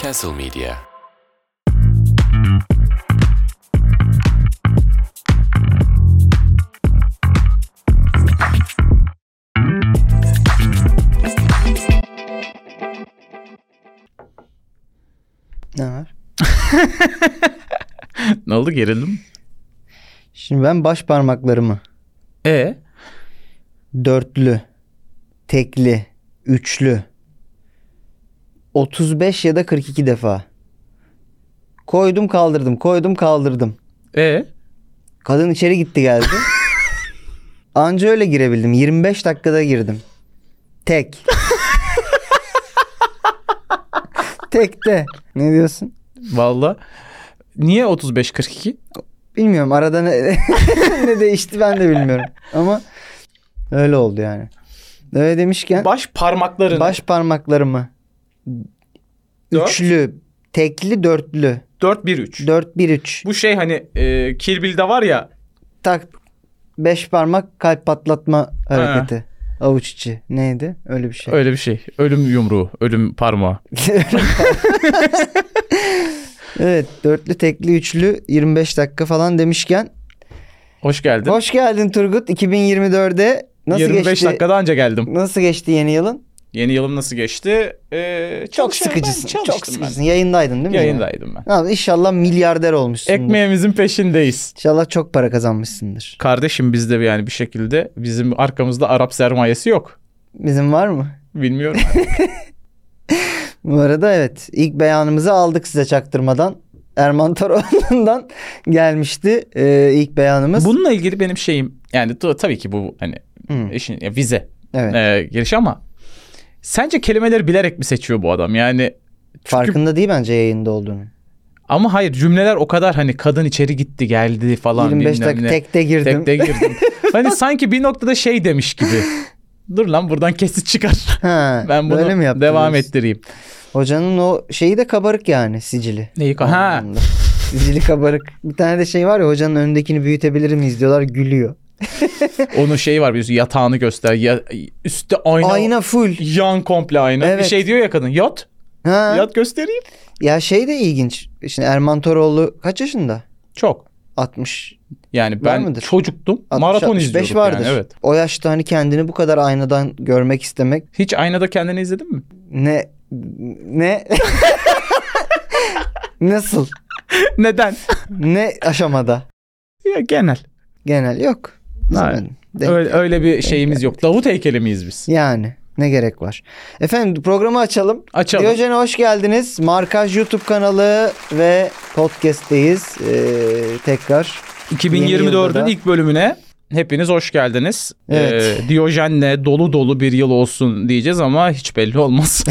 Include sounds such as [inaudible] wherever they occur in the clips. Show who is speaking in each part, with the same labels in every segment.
Speaker 1: Castle Media.
Speaker 2: Ne var?
Speaker 3: Ne oldu gerildim?
Speaker 2: Şimdi ben baş parmaklarımı
Speaker 3: E
Speaker 2: dörtlü, tekli, üçlü 35 ya da 42 defa koydum kaldırdım koydum kaldırdım.
Speaker 3: e
Speaker 2: Kadın içeri gitti geldi. Anca öyle girebildim. 25 dakikada girdim. Tek. Tekte. Ne diyorsun?
Speaker 3: valla niye 35 42?
Speaker 2: Bilmiyorum arada ne, [laughs] ne değişti ben de bilmiyorum. Ama öyle oldu yani. Öyle demişken
Speaker 3: Baş parmakların
Speaker 2: baş parmaklarımı
Speaker 3: Dört.
Speaker 2: üçlü, tekli, dörtlü,
Speaker 3: 4 1 3.
Speaker 2: dört, bir, üç,
Speaker 3: Bu şey hani e, Kill Bill'de var ya
Speaker 2: tak, beş parmak kalp patlatma hareketi. Avuç içi neydi? Öyle bir şey.
Speaker 3: öyle bir şey. Ölüm yumruğu, ölüm parmağı.
Speaker 2: [laughs] evet dörtlü, tekli, üçlü 25 dakika falan demişken.
Speaker 3: Hoş geldin.
Speaker 2: Hoş geldin Turgut 2024'e. Nasıl
Speaker 3: 25
Speaker 2: geçti?
Speaker 3: dakikada anca geldim.
Speaker 2: Nasıl geçti yeni yılın?
Speaker 3: Yeni yılım nasıl geçti? E,
Speaker 2: Çok
Speaker 3: çalışıyorum ben,
Speaker 2: sıkıcısın. Çok
Speaker 3: çalıştım
Speaker 2: sıkıcısın. Yayındaydın değil
Speaker 3: ben.
Speaker 2: mi?
Speaker 3: Yayındaydım ben.
Speaker 2: yine? Abi inşallah milyarder olmuşsun.
Speaker 3: Ekmeğimizin peşindeyiz.
Speaker 2: İnşallah çok para kazanmışsındır.
Speaker 3: Kardeşim bizde yani bir şekilde bizim arkamızda Arap sermayesi yok.
Speaker 2: Bizim var mı?
Speaker 3: Bilmiyorum.
Speaker 2: Bu arada evet ilk beyanımızı aldık size çaktırmadan. Erman Toroğlu'ndan [laughs] gelmişti e, ilk beyanımız.
Speaker 3: Bununla ilgili benim şeyim yani t- tabii ki bu hani
Speaker 2: Hı,
Speaker 3: işin ya vize
Speaker 2: evet.
Speaker 3: e, giriş ama sence kelimeleri bilerek mi seçiyor bu adam? Yani çünkü-
Speaker 2: Farkında değil bence yayında olduğunu.
Speaker 3: ama hayır cümleler o kadar hani kadın içeri gitti geldi falan
Speaker 2: 25
Speaker 3: bilmem
Speaker 2: dakika
Speaker 3: ne.
Speaker 2: tekte girdim. [laughs]
Speaker 3: Tekte girdim. hani sanki bir noktada şey demiş gibi. Dur lan buradan kesit çıkar. [laughs]
Speaker 2: Ha,
Speaker 3: Ben
Speaker 2: böyle
Speaker 3: bunu
Speaker 2: mi yaptın
Speaker 3: devam
Speaker 2: diyorsun?
Speaker 3: ettireyim.
Speaker 2: Hocanın o şeyi de kabarık yani sicili.
Speaker 3: Neyi ka- ha.
Speaker 2: Anlamında. Sicili kabarık. Bir tane de şey var ya hocanın öndekini büyütebilir miyiz diyorlar gülüyor.
Speaker 3: Onun şeyi var bir yatağını göster. Ya, üstte ayna,
Speaker 2: Ayna full.
Speaker 3: yan komple ayna. Bir
Speaker 2: Evet.
Speaker 3: şey diyor ya kadın yat.
Speaker 2: Ha.
Speaker 3: Yat göstereyim.
Speaker 2: Ya şey de ilginç. Şimdi Erman Toroğlu kaç yaşında?
Speaker 3: Çok.
Speaker 2: 60.
Speaker 3: Yani
Speaker 2: Var
Speaker 3: ben
Speaker 2: mıdır?
Speaker 3: çocuktum.
Speaker 2: 60
Speaker 3: maraton
Speaker 2: 65
Speaker 3: izliyorduk
Speaker 2: vardır.
Speaker 3: yani. Evet.
Speaker 2: O yaşta hani kendini bu kadar aynadan görmek istemek
Speaker 3: Hiç aynada kendini izledin mi? [laughs]
Speaker 2: ne ne [laughs] nasıl
Speaker 3: Neden?
Speaker 2: ne aşamada
Speaker 3: Ya genel.
Speaker 2: genel yok.
Speaker 3: Hayır.
Speaker 2: Üzmedim. Denk-
Speaker 3: Öyle, öyle bir şeyimiz yok. Davut heykeli miyiz biz?
Speaker 2: Yani ne gerek var? Efendim programı açalım.
Speaker 3: Açalım.
Speaker 2: Diyojen'e hoş geldiniz. Markaj YouTube kanalı ve podcast'teyiz. Ee, tekrar 2024'ün
Speaker 3: 2024'ün ilk bölümüne hepiniz hoş geldiniz.
Speaker 2: Evet.
Speaker 3: Ee, Diyojen'le dolu dolu bir yıl olsun diyeceğiz ama hiç belli olmaz.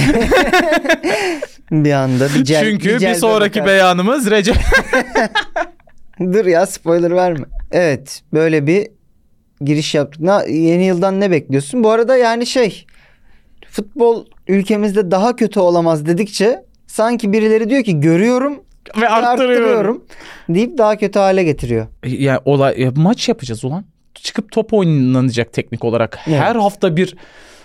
Speaker 2: bir anda [laughs] bir cel,
Speaker 3: [laughs] Çünkü bir
Speaker 2: celbe
Speaker 3: sonraki
Speaker 2: bakar.
Speaker 3: beyanımız Recep. [laughs]
Speaker 2: Dur ya spoiler verme. Evet böyle bir giriş yaptık. Na- yeni yıldan ne bekliyorsun? Bu arada yani şey futbol ülkemizde daha kötü olamaz dedikçe sanki birileri diyor ki görüyorum
Speaker 3: Ve arttırıyorum.
Speaker 2: arttırıyorum deyip daha kötü hale getiriyor.
Speaker 3: Ya, olay, ya maç yapacağız ulan. Çıkıp top oynanacak teknik olarak.
Speaker 2: Evet.
Speaker 3: Her hafta bir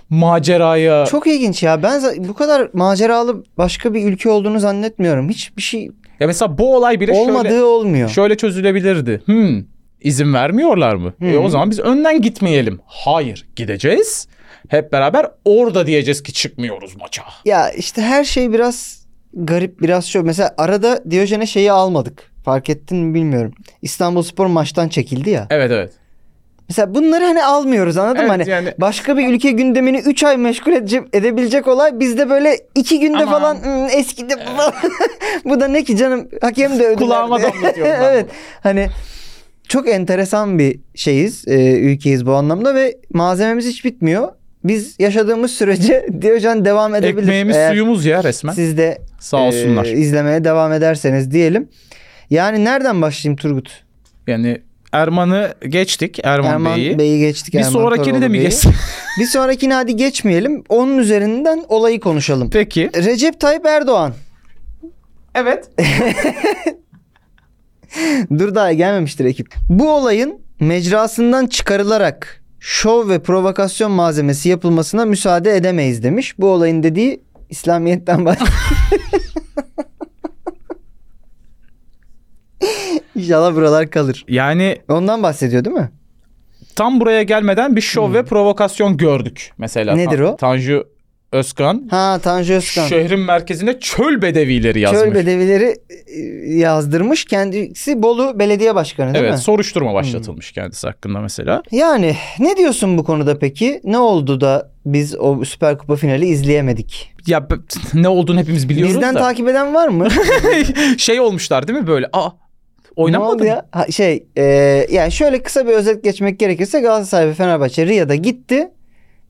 Speaker 3: maceraya.
Speaker 2: Çok ilginç ya. Ben za- bu kadar maceralı başka bir ülke olduğunu zannetmiyorum. Hiçbir şey
Speaker 3: Ya mesela bu olay bile
Speaker 2: olmadığı
Speaker 3: şöyle,
Speaker 2: olmuyor.
Speaker 3: şöyle çözülebilirdi. Hmm, izin vermiyorlar mı? E, o zaman biz önden gitmeyelim. Hayır gideceğiz. Hep beraber orada diyeceğiz ki çıkmıyoruz maça.
Speaker 2: Ya işte her şey biraz garip biraz şu. Mesela arada Diyojen'e şeyi almadık. Fark ettin mi bilmiyorum. İstanbulspor maçtan çekildi ya.
Speaker 3: Evet evet.
Speaker 2: Mesela bunları hani almıyoruz anladın
Speaker 3: Evet,
Speaker 2: mı? Hani
Speaker 3: yani-
Speaker 2: başka bir ülke gündemini 3 ay meşgul edece- edebilecek olay bizde böyle 2 günde
Speaker 3: Aman.
Speaker 2: falan "Hmm, eskidi falan. [laughs] Bu da ne ki canım hakem de ödül
Speaker 3: Kulağıma
Speaker 2: verdi.
Speaker 3: damlatıyorum
Speaker 2: [laughs]
Speaker 3: ben
Speaker 2: evet. Hani çok enteresan bir şeyiz, e, ülkeyiz bu anlamda ve malzememiz hiç bitmiyor. Biz yaşadığımız sürece [laughs] Diyojen devam edebilir.
Speaker 3: Ekmeğimiz
Speaker 2: Eğer
Speaker 3: suyumuz ya resmen.
Speaker 2: Siz de
Speaker 3: Sağ olsunlar.
Speaker 2: e, izlemeye devam ederseniz diyelim. Yani nereden başlayayım Turgut?
Speaker 3: Yani Erman'ı geçtik. Erman,
Speaker 2: Erman
Speaker 3: Bey'i.
Speaker 2: Bey'i geçtik.
Speaker 3: Bir
Speaker 2: Erman
Speaker 3: sonrakini de
Speaker 2: Toroğlu
Speaker 3: mi
Speaker 2: Bey'i.
Speaker 3: geçsin?
Speaker 2: [laughs] Bir sonrakini hadi geçmeyelim. Onun üzerinden olayı konuşalım.
Speaker 3: Peki.
Speaker 2: Recep Tayyip Erdoğan. [laughs]
Speaker 3: Evet.
Speaker 2: Dur daha gelmemiştir ekip. Bu olayın mecrasından çıkarılarak şov ve provokasyon malzemesi yapılmasına müsaade edemeyiz demiş. Bu olayın dediği İslamiyet'ten bahs. [laughs] İnşallah buralar kalır.
Speaker 3: Yani
Speaker 2: Ondan bahsediyor değil mi?
Speaker 3: tam buraya gelmeden bir şov ve provokasyon gördük mesela.
Speaker 2: Nedir
Speaker 3: Tan-
Speaker 2: o?
Speaker 3: Tanju Özkan,
Speaker 2: Ha Tanju Özkan.
Speaker 3: şehrin merkezine çöl bedevileri Şey yazmış.
Speaker 2: Çöl bedevileri e, yazdırmış. Kendisi Bolu Belediye Başkanı değil
Speaker 3: evet,
Speaker 2: mi? Hmm.
Speaker 3: soruşturma başlatılmış kendisi hakkında mesela.
Speaker 2: Yani ne diyorsun bu konuda peki? Ne oldu da biz o Süper Kupa finali izleyemedik?
Speaker 3: Ya b- ne olduğunu hepimiz biliyoruz
Speaker 2: Bizden
Speaker 3: [laughs] da.
Speaker 2: takip eden var mı?
Speaker 3: şey olmuşlar değil mi böyle? Aa
Speaker 2: Ne oldu
Speaker 3: oynamadı. mı?
Speaker 2: ya? Ha, şey e, yani şöyle kısa bir özet geçmek gerekirse Galatasaray ve Fenerbahçe Riyad'a gitti.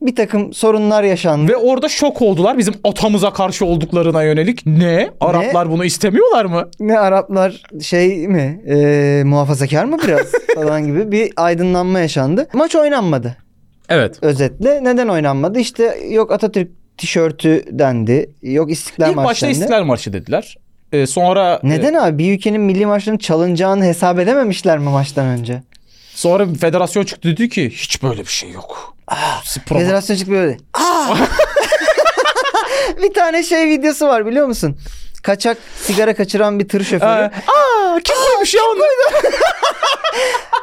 Speaker 2: Bir takım sorunlar yaşandı.
Speaker 3: Ve orada şok oldular bizim atamıza karşı olduklarına yönelik. Ne? Araplar bunu istemiyorlar mı?
Speaker 2: Ne Araplar şey mi e, muhafazakar mı
Speaker 3: [laughs]
Speaker 2: biraz falan gibi bir aydınlanma yaşandı. Maç oynanmadı.
Speaker 3: Evet.
Speaker 2: özetle neden oynanmadı? İşte yok Atatürk tişörtü dendi. Yok İstiklal
Speaker 3: İlk
Speaker 2: Marşı
Speaker 3: başta
Speaker 2: dendi.
Speaker 3: İstiklal Marşı dediler. Ee, sonra
Speaker 2: Neden abi? Bir ülkenin milli maçlarının çalınacağını hesap edememişler mi maçtan önce?
Speaker 3: Sonra federasyon çıktı dedi ki hiç böyle bir şey yok. Spor-
Speaker 2: Ah, Federasyon çıktı böyle.
Speaker 3: [laughs]
Speaker 2: "Aa!" bir tane şey videosu var biliyor musun? Kaçak sigara kaçıran bir tır
Speaker 3: Ee,
Speaker 2: şoförü.
Speaker 3: Aa, kim koymuş ya onu?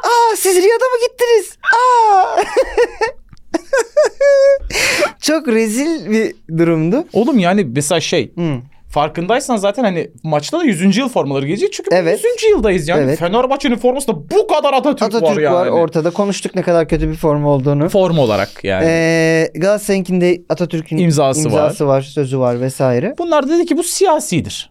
Speaker 2: Aa siz Riyad'a mı gittiniz? Aa! [laughs] Çok rezil bir durumdu.
Speaker 3: Oğlum yani mesela şey
Speaker 2: Hı.
Speaker 3: farkındaysan zaten hani maçta da 100. yıl formaları gelecek çünkü
Speaker 2: Evet.
Speaker 3: 100. yıldayız yani.
Speaker 2: Evet.
Speaker 3: Fenerbahçe'nin formasında bu kadar Atatürk,
Speaker 2: Atatürk
Speaker 3: var yani.
Speaker 2: var ortada. Konuştuk ne kadar kötü bir form olduğunu.
Speaker 3: Form olarak yani.
Speaker 2: Ee, Galatasaray'ınkinde Atatürk'ün
Speaker 3: İmzası var.
Speaker 2: var. sözü var vesaire.
Speaker 3: Bunlar dedi ki bu siyasidir.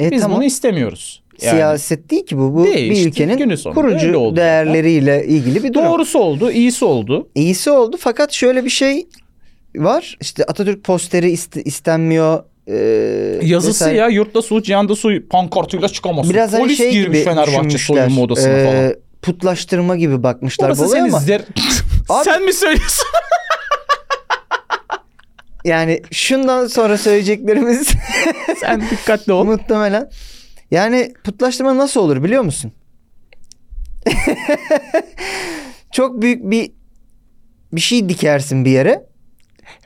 Speaker 2: E,
Speaker 3: Biz
Speaker 2: tamam.
Speaker 3: bunu istemiyoruz. Yani
Speaker 2: Siyaset değil ki bu. Bu
Speaker 3: Değil,
Speaker 2: bir
Speaker 3: işte günün
Speaker 2: ülkenin
Speaker 3: sonunda öyle
Speaker 2: kurucu
Speaker 3: oldu
Speaker 2: değerleriyle ilgili bir durum.
Speaker 3: Doğrusu oldu, iyisi oldu.
Speaker 2: İyisi oldu fakat şöyle bir şey var. İşte Atatürk posteri iste- istenmiyor. ee,
Speaker 3: Yazısı
Speaker 2: vesaire.
Speaker 3: ya yurtta su, cihanda su pankartıyla çıkamazsın.
Speaker 2: Biraz hani
Speaker 3: Polis
Speaker 2: şey
Speaker 3: girmiş
Speaker 2: gibi
Speaker 3: Fenerbahçe
Speaker 2: düşünmüşler.
Speaker 3: soyunma odasına
Speaker 2: Ee,
Speaker 3: falan.
Speaker 2: Putlaştırma gibi bakmışlar bu
Speaker 3: Orası
Speaker 2: olaya
Speaker 3: senin
Speaker 2: ama
Speaker 3: zer...
Speaker 2: [laughs] Abi-
Speaker 3: Sen
Speaker 2: [laughs]
Speaker 3: mi söylüyorsun?
Speaker 2: yani şundan sonra söyleyeceklerimiz
Speaker 3: Sen dikkatli ol.
Speaker 2: Muhtemelen. Yani putlaştırma nasıl olur biliyor musun? [laughs] Çok büyük bir bir şey dikersin bir yere.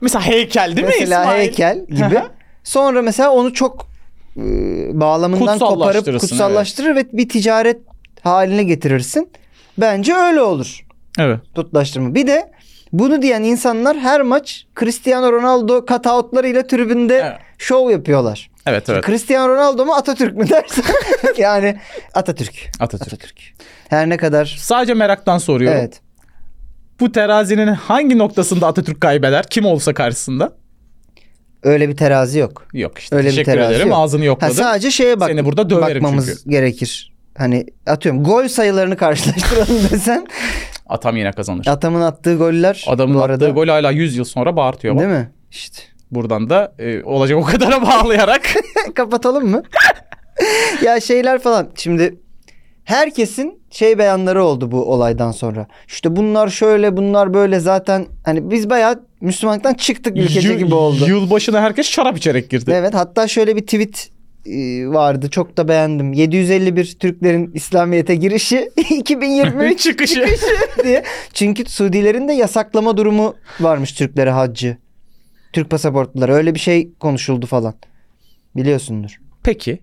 Speaker 3: Mesela heykel değil
Speaker 2: mesela
Speaker 3: mi İsmail?
Speaker 2: heykel gibi. Sonra mesela onu çok e, bağlamından
Speaker 3: Kutsallaştırırsın,
Speaker 2: koparıp kutsallaştırır ve bir ticaret haline getirirsin. Bence öyle olur
Speaker 3: Evet.
Speaker 2: putlaştırma. Bir de bunu diyen insanlar her maç Cristiano Ronaldo cutoutlarıyla tribünde
Speaker 3: Evet.
Speaker 2: şov yapıyorlar.
Speaker 3: Evet evet.
Speaker 2: Cristiano Ronaldo mu Atatürk mü dersen [laughs] yani Atatürk.
Speaker 3: Atatürk.
Speaker 2: Her ne kadar
Speaker 3: Sadece meraktan soruyorum.
Speaker 2: evet.
Speaker 3: Bu terazinin hangi noktasında Atatürk kaybeder? Kim olsa karşısında?
Speaker 2: Öyle bir terazi yok.
Speaker 3: Yok işte.
Speaker 2: Öyle bir
Speaker 3: Teşekkür
Speaker 2: terazi
Speaker 3: ederim.
Speaker 2: yok.
Speaker 3: Ağzını
Speaker 2: Ha,
Speaker 3: yokladım.
Speaker 2: sadece şeye bak
Speaker 3: Seni burada döverim
Speaker 2: bakmamız
Speaker 3: çünkü.
Speaker 2: gerekir. Hani atıyorum gol sayılarını karşılaştıralım [laughs] desen
Speaker 3: Atam yine kazanır.
Speaker 2: Atam'ın attığı goller
Speaker 3: Adamın
Speaker 2: bu
Speaker 3: attığı
Speaker 2: arada
Speaker 3: gol hala 100 yıl sonra bağırtıyor. bak.
Speaker 2: değil mi? İşte. [laughs]
Speaker 3: Buradan da e, olacak o kadara bağlayarak.
Speaker 2: Kapatalım mı? [laughs] ya şeyler falan şimdi herkesin şey beyanları oldu bu olaydan sonra. İşte bunlar şöyle bunlar böyle zaten hani biz bayağı Müslümanlıktan çıktık ülkece
Speaker 3: Yıl-
Speaker 2: gibi oldu.
Speaker 3: Yılbaşına herkes şarap içerek girdi.
Speaker 2: Evet hatta şöyle bir tweet e, vardı çok da beğendim. 751 Türklerin İslamiyet'e girişi [laughs] 2023
Speaker 3: [laughs] Çıkışı.
Speaker 2: diye. Çünkü Suudilerin de yasaklama durumu varmış Türklere haccı. Türk pasaportlulara öyle bir şey konuşuldu falan. Biliyorsundur.
Speaker 3: Peki.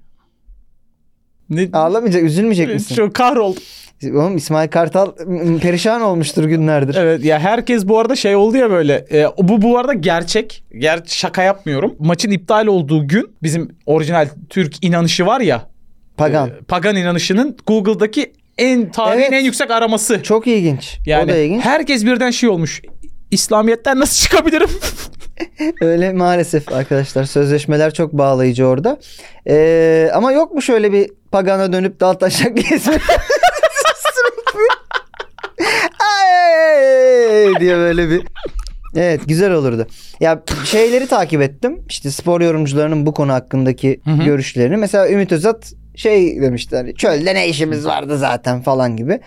Speaker 3: Ne?
Speaker 2: Ağlamayacak, üzülmeyecek misin?
Speaker 3: Çok kahroldum.
Speaker 2: Oğlum İsmail Kartal m, perişan olmuştur günlerdir.
Speaker 3: Evet ya herkes bu arada şey oldu ya böyle. e, bu bu arada gerçek. Ger şaka yapmıyorum. Maçın iptal olduğu gün bizim orijinal Türk inanışı var ya.
Speaker 2: Pagan.
Speaker 3: e, Pagan inanışının Google'daki en tarihin
Speaker 2: Evet.
Speaker 3: en yüksek araması.
Speaker 2: Çok ilginç. o
Speaker 3: Yani
Speaker 2: da ilginç.
Speaker 3: herkes birden şey olmuş. İslamiyet'ten nasıl [laughs] çıkabilirim?
Speaker 2: Öyle maalesef arkadaşlar sözleşmeler çok bağlayıcı orada. Ee, ama yok mu şöyle bir pagana dönüp dal taşak [laughs] gezme? Ay diye böyle bir. Evet güzel olurdu. Ya şeyleri takip ettim. İşte spor yorumcularının bu konu hakkındaki
Speaker 3: Hı hı.
Speaker 2: görüşlerini. Mesela Ümit Özat şey demişti hani çölde ne işimiz vardı zaten falan gibi.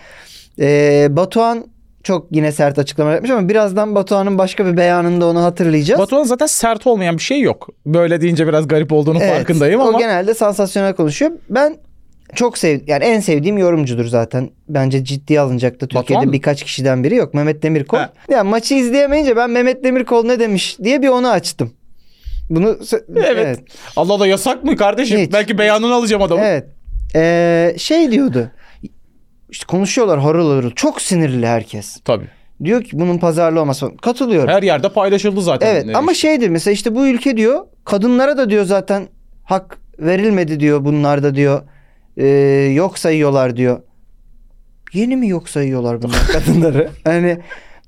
Speaker 2: Ee, Batuhan çok yine sert açıklama yapmış ama birazdan Batuhan'ın başka bir beyanında onu hatırlayacağız.
Speaker 3: Batuhan zaten sert olmayan bir şey yok. Böyle deyince biraz garip olduğunu
Speaker 2: Evet,
Speaker 3: farkındayım
Speaker 2: o
Speaker 3: ama.
Speaker 2: genelde sansasyonel konuşuyor. Ben çok sev yani en sevdiğim yorumcudur zaten. Bence ciddiye alınacaktı.
Speaker 3: Batuhan
Speaker 2: Türkiye'de
Speaker 3: mı?
Speaker 2: birkaç kişiden biri yok. Mehmet Demirkol.
Speaker 3: Ha.
Speaker 2: Ya maçı izleyemeyince ben Mehmet Demirkol ne demiş diye bir onu açtım. Bunu sö-
Speaker 3: [laughs] Evet. Allah da yasak mı kardeşim?
Speaker 2: Hiç.
Speaker 3: Belki beyanını alacağım adamın.
Speaker 2: Evet. Ee, şey diyordu. İşte konuşuyorlar horul horul. Çok sinirli herkes.
Speaker 3: Tabii.
Speaker 2: Diyor ki bunun pazarlı olması. falan. Katılıyorum.
Speaker 3: Her yerde paylaşıldı zaten. Ee,
Speaker 2: evet [laughs]
Speaker 3: Ne
Speaker 2: ama
Speaker 3: iş-
Speaker 2: şeydir mesela işte bu ülke diyor kadınlara da diyor zaten hak verilmedi diyor bunlarda diyor. Ee, yok sayıyorlar diyor. Yeni mi yok sayıyorlar
Speaker 3: [laughs]
Speaker 2: bunlar kadınları? Yani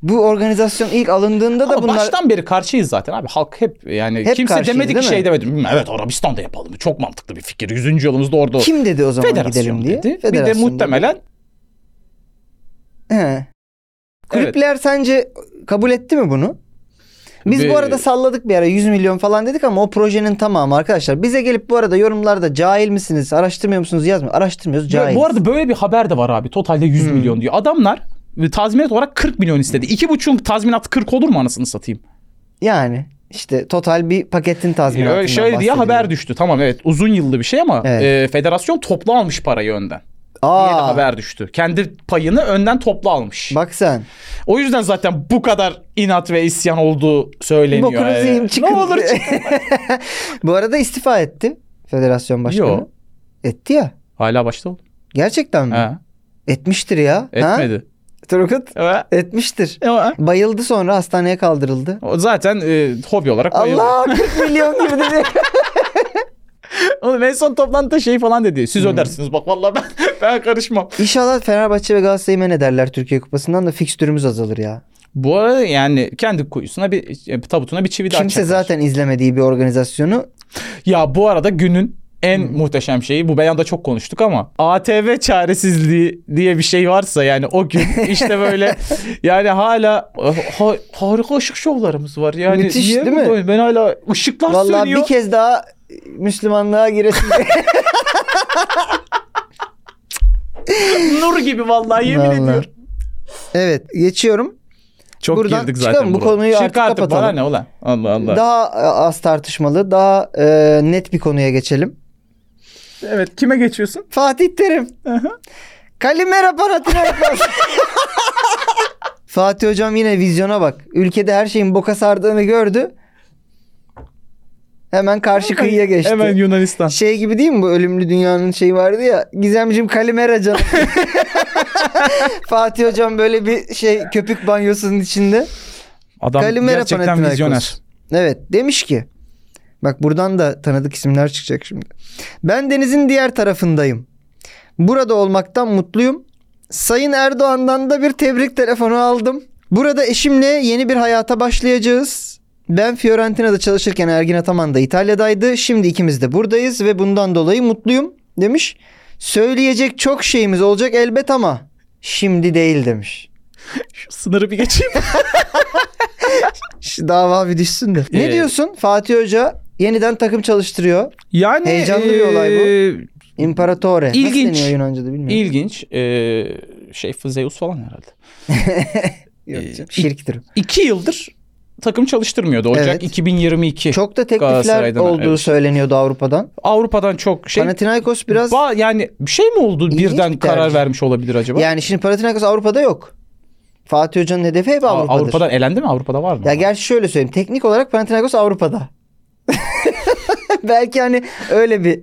Speaker 2: bu organizasyon ilk alındığında da
Speaker 3: Ama
Speaker 2: bunlar
Speaker 3: baştan beri karşıyız zaten abi. Halk hep yani
Speaker 2: Hep
Speaker 3: kimse
Speaker 2: karşıyız,
Speaker 3: demedi ki
Speaker 2: değil mi?
Speaker 3: şey demedi. "Hmm, Evet Arabistan'da yapalım. Çok mantıklı bir fikir. Yüzüncü yılımızda orada olsun."
Speaker 2: kim dedi o zaman
Speaker 3: Federasyon
Speaker 2: gidelim diye?
Speaker 3: dedi. Bir de
Speaker 2: Federasyon dedi.
Speaker 3: muhtemelen
Speaker 2: He.
Speaker 3: Evet.
Speaker 2: Kulüpler sence kabul etti mi bunu? Biz
Speaker 3: Ve-
Speaker 2: bu arada salladık bir ara 100 milyon falan dedik ama o projenin tamamı arkadaşlar. Bize gelip bu arada yorumlarda cahil misiniz, araştırmıyor musunuz yazmıyor. Araştırmıyoruz cahil.
Speaker 3: Bu arada böyle bir haber de var abi. Totalde 100
Speaker 2: Hmm.
Speaker 3: milyon diyor. Adamlar e, tazminat olarak 40 milyon istedi. İki buçuğun tazminatı 40 olur mu anasını satayım?
Speaker 2: Yani işte total bir paketin tazminatından
Speaker 3: Öyle Ee, şöyle diye
Speaker 2: bahsediyorum.
Speaker 3: haber düştü. Tamam evet uzun yıllı bir şey ama
Speaker 2: Evet.
Speaker 3: e, federasyon toplu almış parayı önden. Diye de
Speaker 2: Aa,
Speaker 3: haber düştü. Kendi payını önden toplu almış.
Speaker 2: Bak sen.
Speaker 3: O yüzden zaten bu kadar inat ve isyan olduğu söyleniyor.
Speaker 2: Bokunuzu
Speaker 3: Yani.
Speaker 2: yiyeyim, çıkın.
Speaker 3: Ne olur çık.
Speaker 2: [laughs] bu arada istifa etti federasyon başkanı.
Speaker 3: Yo.
Speaker 2: Etti ya.
Speaker 3: Hala başta oldu.
Speaker 2: Gerçekten mi?
Speaker 3: Ha,
Speaker 2: Etmiştir ya. Ha?
Speaker 3: etmedi.
Speaker 2: Turgut
Speaker 3: Ha?
Speaker 2: etmiştir.
Speaker 3: Ha?
Speaker 2: Bayıldı sonra hastaneye kaldırıldı.
Speaker 3: O Zaten e, hobi olarak bayıldı.
Speaker 2: Allah 40 milyon gibi
Speaker 3: [laughs]
Speaker 2: dedi.
Speaker 3: Oğlum en son toplantıda şey falan dedi.
Speaker 2: Hmm.
Speaker 3: Siz ödersiniz bak vallahi ben, [laughs] ben karışmam.
Speaker 2: İnşallah Fenerbahçe ve Galatasaray'ı men ederler Türkiye Kupası'ndan da fikstürümüz azalır ya.
Speaker 3: Bu arada yani kendi kuyusuna bir e, tabutuna bir çivi daha
Speaker 2: Kimse
Speaker 3: çakar.
Speaker 2: zaten izlemediği bir organizasyonu
Speaker 3: Ya bu arada günün en muhteşem şeyi bu beyanda çok konuştuk ama ATV çaresizliği diye bir şey varsa yani
Speaker 2: [laughs]
Speaker 3: o gün işte böyle yani hala ha- harika ışık şovlarımız var yani.
Speaker 2: Müthiş,
Speaker 3: niye
Speaker 2: değil
Speaker 3: bu
Speaker 2: mi?
Speaker 3: böyle? Ben hala ışıklar
Speaker 2: vallahi
Speaker 3: sönüyor.
Speaker 2: bir kez daha Müslümanlığa giresin.
Speaker 3: Nur gibi vallahi yemin
Speaker 2: Vallahi.
Speaker 3: ediyorum.
Speaker 2: evet geçiyorum.
Speaker 3: Çok
Speaker 2: Buradan
Speaker 3: girdik
Speaker 2: çıkalım,
Speaker 3: zaten
Speaker 2: bu
Speaker 3: buradan.
Speaker 2: konuyu
Speaker 3: Çık
Speaker 2: artık
Speaker 3: bana
Speaker 2: kapatalım.
Speaker 3: ne ulan. Allah Allah.
Speaker 2: Daha e, az tartışmalı, daha e, net bir konuya geçelim.
Speaker 3: Evet kime geçiyorsun?
Speaker 2: Fatih Terim. Kalimera aparatına bak. [laughs] Fatih hocam yine vizyona bak. Ülkede her şeyin boka sardığını gördü. Hemen karşı kıyıya geçti.
Speaker 3: Hemen Yunanistan.
Speaker 2: Şey gibi değil mi bu ölümlü dünyanın şeyi vardı ya. Gizemcim Kalimera
Speaker 3: [laughs]
Speaker 2: canım. Fatih hocam böyle bir şey köpük banyosunun içinde.
Speaker 3: Adam
Speaker 2: Kalimera
Speaker 3: gerçekten
Speaker 2: Panathinaikos.
Speaker 3: vizyoner.
Speaker 2: Evet demiş ki. Bak buradan da tanıdık isimler çıkacak şimdi. Ben denizin diğer tarafındayım. Burada olmaktan mutluyum. Sayın Erdoğan'dan da bir tebrik telefonu aldım. Burada eşimle yeni bir hayata başlayacağız. Ben Fiorentina'da çalışırken Ergin Ataman da İtalya'daydı. Şimdi ikimiz de buradayız ve bundan dolayı mutluyum demiş. Söyleyecek çok şeyimiz olacak elbet ama şimdi değil demiş.
Speaker 3: Şu sınırı bir geçeyim.
Speaker 2: Şu dava bir düşsün de. Ne
Speaker 3: Ee,
Speaker 2: diyorsun? Fatih Hoca yeniden takım çalıştırıyor.
Speaker 3: Yani
Speaker 2: Heyecanlı bir olay bu.
Speaker 3: eee,
Speaker 2: İmparatore.
Speaker 3: İlginç.
Speaker 2: Nasıl deniyor Yunanca'da bilmiyorum.
Speaker 3: İlginç. eee, şey Zeus falan herhalde. Ee,
Speaker 2: Yok canım, Şirktir.
Speaker 3: İki yıldır takım çalıştırmıyordu. Ocak
Speaker 2: Evet.
Speaker 3: 2022.
Speaker 2: Çok da teklifler
Speaker 3: Galatasaray'dan,
Speaker 2: olduğu
Speaker 3: evet.
Speaker 2: söyleniyordu Avrupa'dan.
Speaker 3: Avrupa'dan çok şey.
Speaker 2: Panathinaikos biraz
Speaker 3: Ba- yani bir şey mi oldu
Speaker 2: İlginç
Speaker 3: birden
Speaker 2: bir tercih.
Speaker 3: karar vermiş olabilir acaba?
Speaker 2: yani şimdi Panathinaikos Avrupa'da yok. Fatih Hoca'nın hedefi hep
Speaker 3: Aa,
Speaker 2: Avrupa'dır.
Speaker 3: Avrupa'dan elendi mi? Avrupa'da var mı?
Speaker 2: Ya gerçi şöyle söyleyeyim. Teknik olarak Panathinaikos Avrupa'da. [laughs] Belki hani öyle bir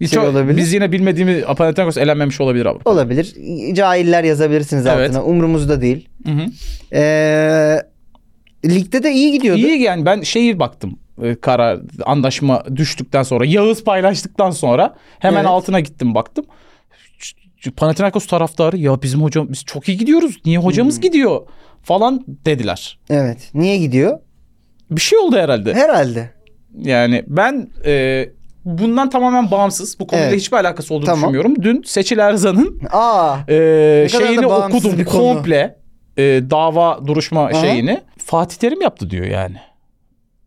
Speaker 3: Biz
Speaker 2: şey
Speaker 3: çok-
Speaker 2: olabilir.
Speaker 3: Biz yine bilmediğimiz Panathinaikos elenmemiş olabilir Avrupa.
Speaker 2: olabilir. Cahiller yazabilirsiniz
Speaker 3: Evet.
Speaker 2: altına. Umrumuzda değil.
Speaker 3: Hı-hı.
Speaker 2: Ee, ligde de iyi gidiyordu.
Speaker 3: İyi yani ben şeyi baktım e, karar anlaşma düştükten sonra Yağız paylaştıktan sonra hemen
Speaker 2: Evet.
Speaker 3: altına gittim baktım. Ç- ç- Panathinaikos taraftarı ya bizim hocam biz çok iyi gidiyoruz. Niye
Speaker 2: Hmm.
Speaker 3: hocamız gidiyor falan dediler.
Speaker 2: Evet. Niye gidiyor?
Speaker 3: Bir şey oldu herhalde.
Speaker 2: Herhalde.
Speaker 3: Yani ben e, bundan tamamen bağımsız bu konuyla
Speaker 2: Evet.
Speaker 3: hiçbir alakası olduğunu
Speaker 2: Tamam.
Speaker 3: düşünmüyorum. Dün
Speaker 2: [laughs]
Speaker 3: Seçil Erzan'ın
Speaker 2: Aa.
Speaker 3: e,
Speaker 2: kadar da
Speaker 3: şeyini
Speaker 2: bağımsız
Speaker 3: okudum
Speaker 2: bir konu.
Speaker 3: komple e, dava duruşma
Speaker 2: Aha.
Speaker 3: şeyini. Fatih Terim yaptı diyor yani.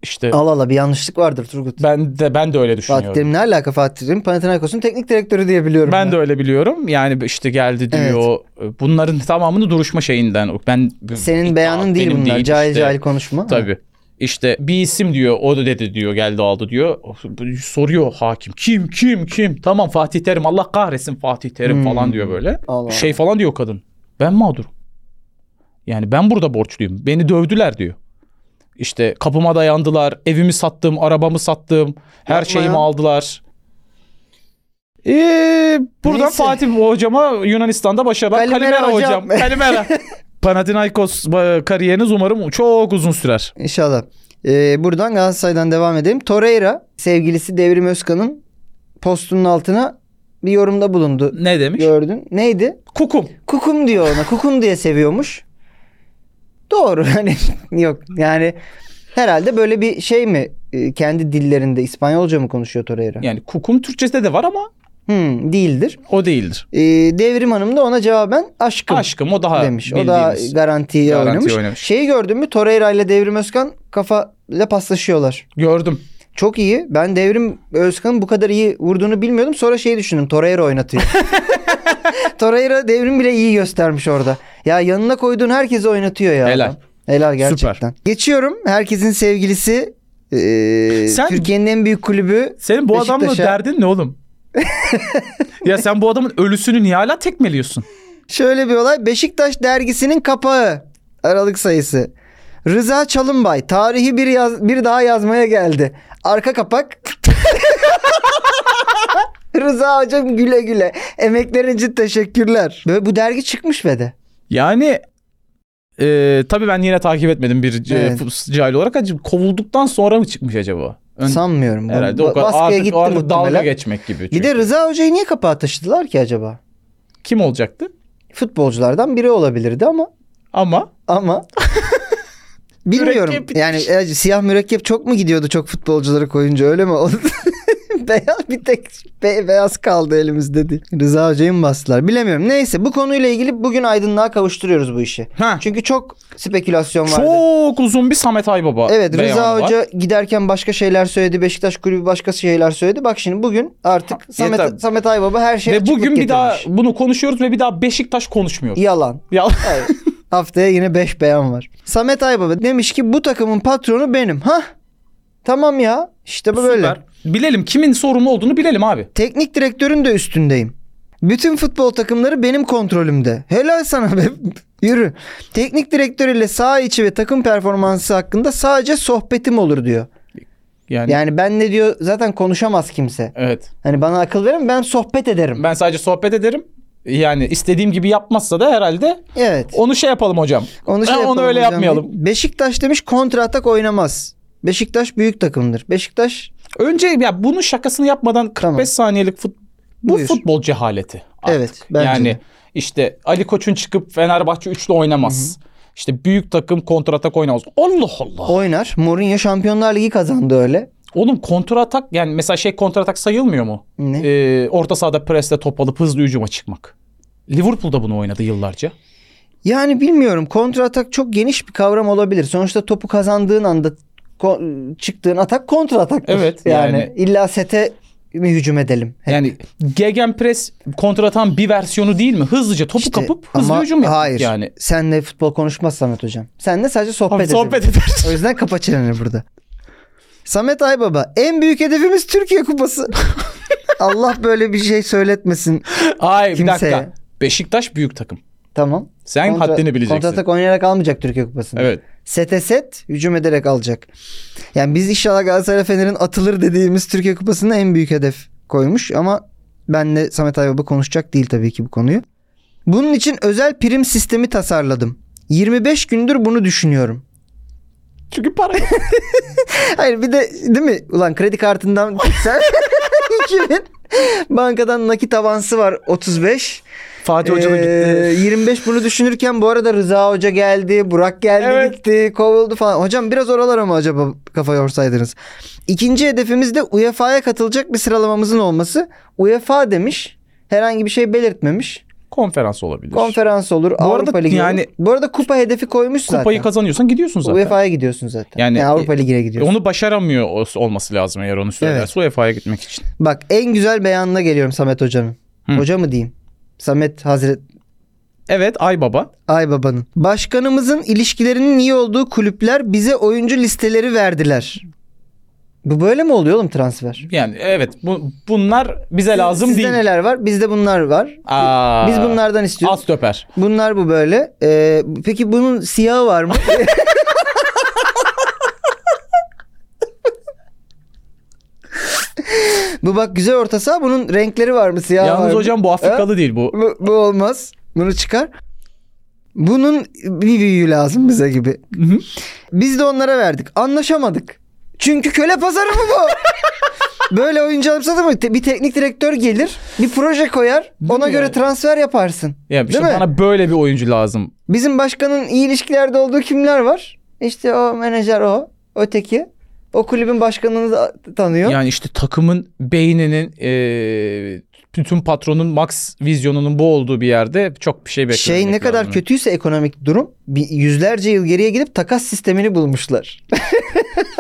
Speaker 3: İşte
Speaker 2: Al ala bir yanlışlık vardır Turgut.
Speaker 3: ben de ben de öyle düşünüyorum.
Speaker 2: Fatih Terim ne alaka Fatih Terim? Panathinaikos'un teknik direktörü diye biliyorum.
Speaker 3: Ben de öyle biliyorum. Yani işte geldi
Speaker 2: Evet.
Speaker 3: diyor. Bunların tamamını duruşma şeyinden. Ben
Speaker 2: Senin
Speaker 3: iddia-
Speaker 2: beyanın değil
Speaker 3: benim
Speaker 2: bunlar. cahil
Speaker 3: işte.
Speaker 2: cahil konuşma.
Speaker 3: Tabii. İşte bir isim diyor o da dedi diyor geldi aldı diyor. Soruyor hakim kim kim kim tamam Fatih Terim Allah kahretsin Fatih Terim
Speaker 2: Hmm.
Speaker 3: falan diyor böyle.
Speaker 2: Allah
Speaker 3: Şey falan diyor kadın ben mağdurum. Yani ben burada borçluyum beni dövdüler diyor. İşte kapıma dayandılar. Evimi sattım, arabamı sattım. Her
Speaker 2: Yapma
Speaker 3: şeyimi
Speaker 2: ya.
Speaker 3: aldılar. Ee, buradan
Speaker 2: Neyse.
Speaker 3: Fatih hocama Yunanistan'da başarılar.
Speaker 2: Kalimera
Speaker 3: Kalimera, hocam.
Speaker 2: [laughs] hocam.
Speaker 3: Kalimera. Panathinaikos ba- kariyeriniz umarım çok uzun sürer.
Speaker 2: İnşallah. Ee, buradan Galatasaray'dan devam edelim. Torreira sevgilisi Devrim Özkan'ın postunun altına bir yorumda bulundu.
Speaker 3: Ne demiş?
Speaker 2: Gördün. Neydi?
Speaker 3: Kukum.
Speaker 2: Kukum diyor ona. Kukum diye seviyormuş. Doğru. [laughs] Hani yok. Yani herhalde böyle bir şey mi? Ee, Kendi dillerinde İspanyolca mı konuşuyor Torreira?
Speaker 3: Yani kukum Türkçesinde de var ama
Speaker 2: Hmm, değildir.
Speaker 3: o değildir.
Speaker 2: Ee, Devrim Hanım da ona cevaben aşkım.
Speaker 3: Aşkım o daha
Speaker 2: demiş. O da
Speaker 3: bildiğimiz.
Speaker 2: garantiye
Speaker 3: Garantiye
Speaker 2: oynamış.
Speaker 3: oynamış.
Speaker 2: Şeyi gördün mü? Torreira ile Devrim Özkan kafa ile paslaşıyorlar.
Speaker 3: Gördüm.
Speaker 2: Çok iyi. Ben Devrim Özkan'ın bu kadar iyi vurduğunu bilmiyordum. Sonra şeyi düşündüm. Torreira
Speaker 3: [laughs]
Speaker 2: oynatıyor. Torreira Devrim bile iyi göstermiş orada. Ya yanına koyduğun herkesi oynatıyor ya.
Speaker 3: Helal.
Speaker 2: adam. Helal gerçekten. Geçiyorum. Herkesin sevgilisi ee,
Speaker 3: Sen-
Speaker 2: Türkiye'nin en büyük kulübü
Speaker 3: Senin bu adamla
Speaker 2: Beşiktaş'a-
Speaker 3: derdin
Speaker 2: [laughs]
Speaker 3: ne oğlum? ya sen bu adamın ölüsünü niye hala tekmeliyorsun?
Speaker 2: Şöyle bir olay. Beşiktaş dergisinin kapağı. Aralık sayısı. Rıza Çalınbay tarihi bir, yaz, bir daha yazmaya geldi. Arka kapak. [laughs] Rıza hocam güle güle. Emeklerin için teşekkürler. Böyle bu dergi çıkmış ve de.
Speaker 3: Yani e, tabii ben yine takip etmedim bir e,
Speaker 2: Evet.
Speaker 3: fus- cahil olarak. Acaba kovulduktan sonra mı çıkmış acaba? Ön-
Speaker 2: Sanmıyorum.
Speaker 3: herhalde
Speaker 2: Ba-
Speaker 3: o kadar
Speaker 2: baskıya
Speaker 3: artık,
Speaker 2: gitti
Speaker 3: artık
Speaker 2: muhtemelen.
Speaker 3: dalga geçmek gibi.
Speaker 2: Bir
Speaker 3: çünkü.
Speaker 2: de Rıza hocayı niye kapağa taşıdılar ki acaba?
Speaker 3: Kim olacaktı?
Speaker 2: Futbolculardan biri olabilirdi ama
Speaker 3: Ama [laughs]
Speaker 2: ama bilmiyorum.
Speaker 3: Mürekkep bitmiş.
Speaker 2: Yani e, siyah mürekkep çok mu gidiyordu çok futbolcuları koyunca öyle mi oldu? [laughs] beyaz bir tek be- beyaz kaldı elimizde değil. Rıza Hoca'yı mı bastılar? Bilemiyorum. Neyse bu konuyla ilgili bugün aydınlığa kavuşturuyoruz bu işi.
Speaker 3: ha,
Speaker 2: Çünkü çok spekülasyon vardı.
Speaker 3: çok uzun bir Samet Aybaba
Speaker 2: Evet Rıza
Speaker 3: beyanı var.
Speaker 2: Hoca giderken başka şeyler söyledi. Beşiktaş kulübü başka şeyler söyledi. Bak şimdi bugün artık Samet,
Speaker 3: yeter.
Speaker 2: Samet Aybaba her şeye
Speaker 3: Ve
Speaker 2: şey açıklık
Speaker 3: bugün bir daha
Speaker 2: getirmiş.
Speaker 3: bunu konuşuyoruz ve bir daha Beşiktaş konuşmuyor.
Speaker 2: Yalan.
Speaker 3: Ya
Speaker 2: Hayır. [laughs] Haftaya yine 5 beyan var. Samet Aybaba demiş ki bu takımın patronu benim. Ha? Tamam ya. İşte bu böyle.
Speaker 3: [laughs] süper. Bilelim kimin sorumlu olduğunu bilelim abi.
Speaker 2: Teknik direktörün de üstündeyim. Bütün futbol takımları benim kontrolümde. Helal sana be. [laughs] Yürü. Teknik direktör ile saha içi ve takım performansı hakkında sadece sohbetim olur diyor.
Speaker 3: Yani,
Speaker 2: Yani ben ne diyor zaten konuşamaz kimse.
Speaker 3: evet.
Speaker 2: Hani bana akıl verin ben sohbet ederim.
Speaker 3: Ben sadece sohbet ederim. Yani istediğim gibi yapmazsa da herhalde
Speaker 2: Evet.
Speaker 3: onu şey yapalım hocam.
Speaker 2: Onu, şey
Speaker 3: Ha, onu
Speaker 2: yapalım
Speaker 3: öyle
Speaker 2: hocam.
Speaker 3: yapmayalım.
Speaker 2: Beşiktaş demiş kontra atak oynamaz. Beşiktaş büyük takımdır. Beşiktaş
Speaker 3: Önce ya bunun şakasını yapmadan 45
Speaker 2: Tamam.
Speaker 3: saniyelik fut bu
Speaker 2: Buyur.
Speaker 3: futbol cehaleti. Artık.
Speaker 2: Evet, bence
Speaker 3: yani
Speaker 2: de.
Speaker 3: işte Ali Koç'un çıkıp Fenerbahçe üçlü oynamaz. İşte büyük takım kontratak oynamaz. Allah Allah.
Speaker 2: oynar. Mourinho Şampiyonlar Ligi kazandı öyle.
Speaker 3: Oğlum kontratak yani mesela şey kontratak sayılmıyor mu?
Speaker 2: Ne?
Speaker 3: Ee, orta sahada presle top alıp hızlı hücuma çıkmak. Liverpool'da bunu oynadı yıllarca.
Speaker 2: Yani bilmiyorum kontra atak çok geniş bir kavram olabilir. Sonuçta topu kazandığın anda ko- çıktığın atak kontra atak.
Speaker 3: Evet,
Speaker 2: yani.
Speaker 3: yani.
Speaker 2: illa sete mi hücum edelim? Hep.
Speaker 3: Yani gegenpress kontratan bir versiyonu değil mi? Hızlıca topu
Speaker 2: İşte
Speaker 3: kapıp hızlı
Speaker 2: ama
Speaker 3: hücum yapmak
Speaker 2: Hayır.
Speaker 3: yani.
Speaker 2: Senle futbol konuşmaz Samet hocam. Senle sadece sohbet
Speaker 3: Abi
Speaker 2: edelim.
Speaker 3: sohbet ederiz. [laughs]
Speaker 2: O yüzden kapa çeneni burada. Samet Aybaba en büyük hedefimiz Türkiye
Speaker 3: [laughs]
Speaker 2: Kupası. Allah böyle bir şey söyletmesin.
Speaker 3: Ay bir
Speaker 2: Kimseye.
Speaker 3: dakika. Beşiktaş büyük takım.
Speaker 2: Tamam.
Speaker 3: Sen haddini bileceksin.
Speaker 2: Kontratak oynayarak almayacak Türkiye Kupası'nı.
Speaker 3: Evet.
Speaker 2: Sete set hücum ederek alacak. Yani biz inşallah Galatasaray Fener'in atılır dediğimiz Türkiye Kupası'nda en büyük hedef koymuş ama benle Samet Aybaba konuşacak değil tabii ki bu konuyu. Bunun için özel prim sistemi tasarladım. 25 gündür bunu düşünüyorum.
Speaker 3: Çünkü para.
Speaker 2: Hayır bir de değil mi? Ulan kredi kartından sen [laughs] 2000 bankadan nakit avansı var 35.
Speaker 3: [laughs] Fatih Hoca da gitti.
Speaker 2: Ee, 25 bunu düşünürken bu arada Rıza Hoca geldi, Burak geldi
Speaker 3: Evet.
Speaker 2: gitti, kovuldu falan. Hocam biraz oralara mı acaba kafa yorsaydınız? İkinci hedefimiz de UEFA'ya katılacak bir sıralamamızın olması. UEFA demiş. Herhangi bir şey belirtmemiş.
Speaker 3: Konferans olabilir.
Speaker 2: Konferans olur, Avrupa
Speaker 3: arada
Speaker 2: Ligi yani,
Speaker 3: yani-
Speaker 2: olur. Bu arada kupa hedefi koymuş
Speaker 3: Kupayı
Speaker 2: zaten.
Speaker 3: kazanıyorsan gidiyorsun zaten.
Speaker 2: UEFA'ya gidiyorsun zaten. Yani,
Speaker 3: Yani-
Speaker 2: Avrupa Ligi'ne
Speaker 3: E,
Speaker 2: gidiyorsun.
Speaker 3: onu başaramıyor ol- olması lazım eğer onu söylerse UEFA'ya gitmek için.
Speaker 2: Bak en güzel beyanına geliyorum Samet Hoca'nın.
Speaker 3: Hı.
Speaker 2: Hoca mı diyeyim? Samet Hazret
Speaker 3: Evet Ay Baba.
Speaker 2: Ay babanın. Başkanımızın ilişkilerinin iyi olduğu kulüpler bize oyuncu listeleri verdiler. Bu böyle mi oluyor oğlum transfer?
Speaker 3: Yani evet bu, bunlar bize lazım
Speaker 2: Sizde
Speaker 3: değil.
Speaker 2: neler var? Bizde bunlar var.
Speaker 3: Aa,
Speaker 2: Biz bunlardan istiyoruz.
Speaker 3: Az töper.
Speaker 2: Bunlar bu böyle. Ee, peki bunun siyahı var mı? [laughs] Bu bak güzel orta saha bunun renkleri var mı siyah var mı?
Speaker 3: Yalnız hocam bu Afrikalı değil bu.
Speaker 2: Bu, bu olmaz. Bunu çıkar. Bunun bir büyüğü lazım bize gibi.
Speaker 3: hı.
Speaker 2: Biz de onlara verdik. Anlaşamadık. Çünkü köle pazarı mı
Speaker 3: [laughs]
Speaker 2: bu? Böyle oyuncu alıp satılmıyor. Te- Bir teknik direktör gelir, bir proje koyar, ona
Speaker 3: mi
Speaker 2: göre
Speaker 3: yani?
Speaker 2: transfer yaparsın.
Speaker 3: Ya işte
Speaker 2: Değil mi?
Speaker 3: bana böyle bir oyuncu lazım.
Speaker 2: Bizim başkanın iyi ilişkilerde olduğu kimler var? İşte o menajer o, öteki. O kulübün başkanını da tanıyor.
Speaker 3: Yani işte takımın beyninin eee, bütün patronun max vizyonunun bu olduğu bir yerde çok bir şey beklemek
Speaker 2: şey ne kadar
Speaker 3: lazım.
Speaker 2: kötüyse ekonomik durum bir yüzlerce yıl geriye gidip takas sistemini bulmuşlar.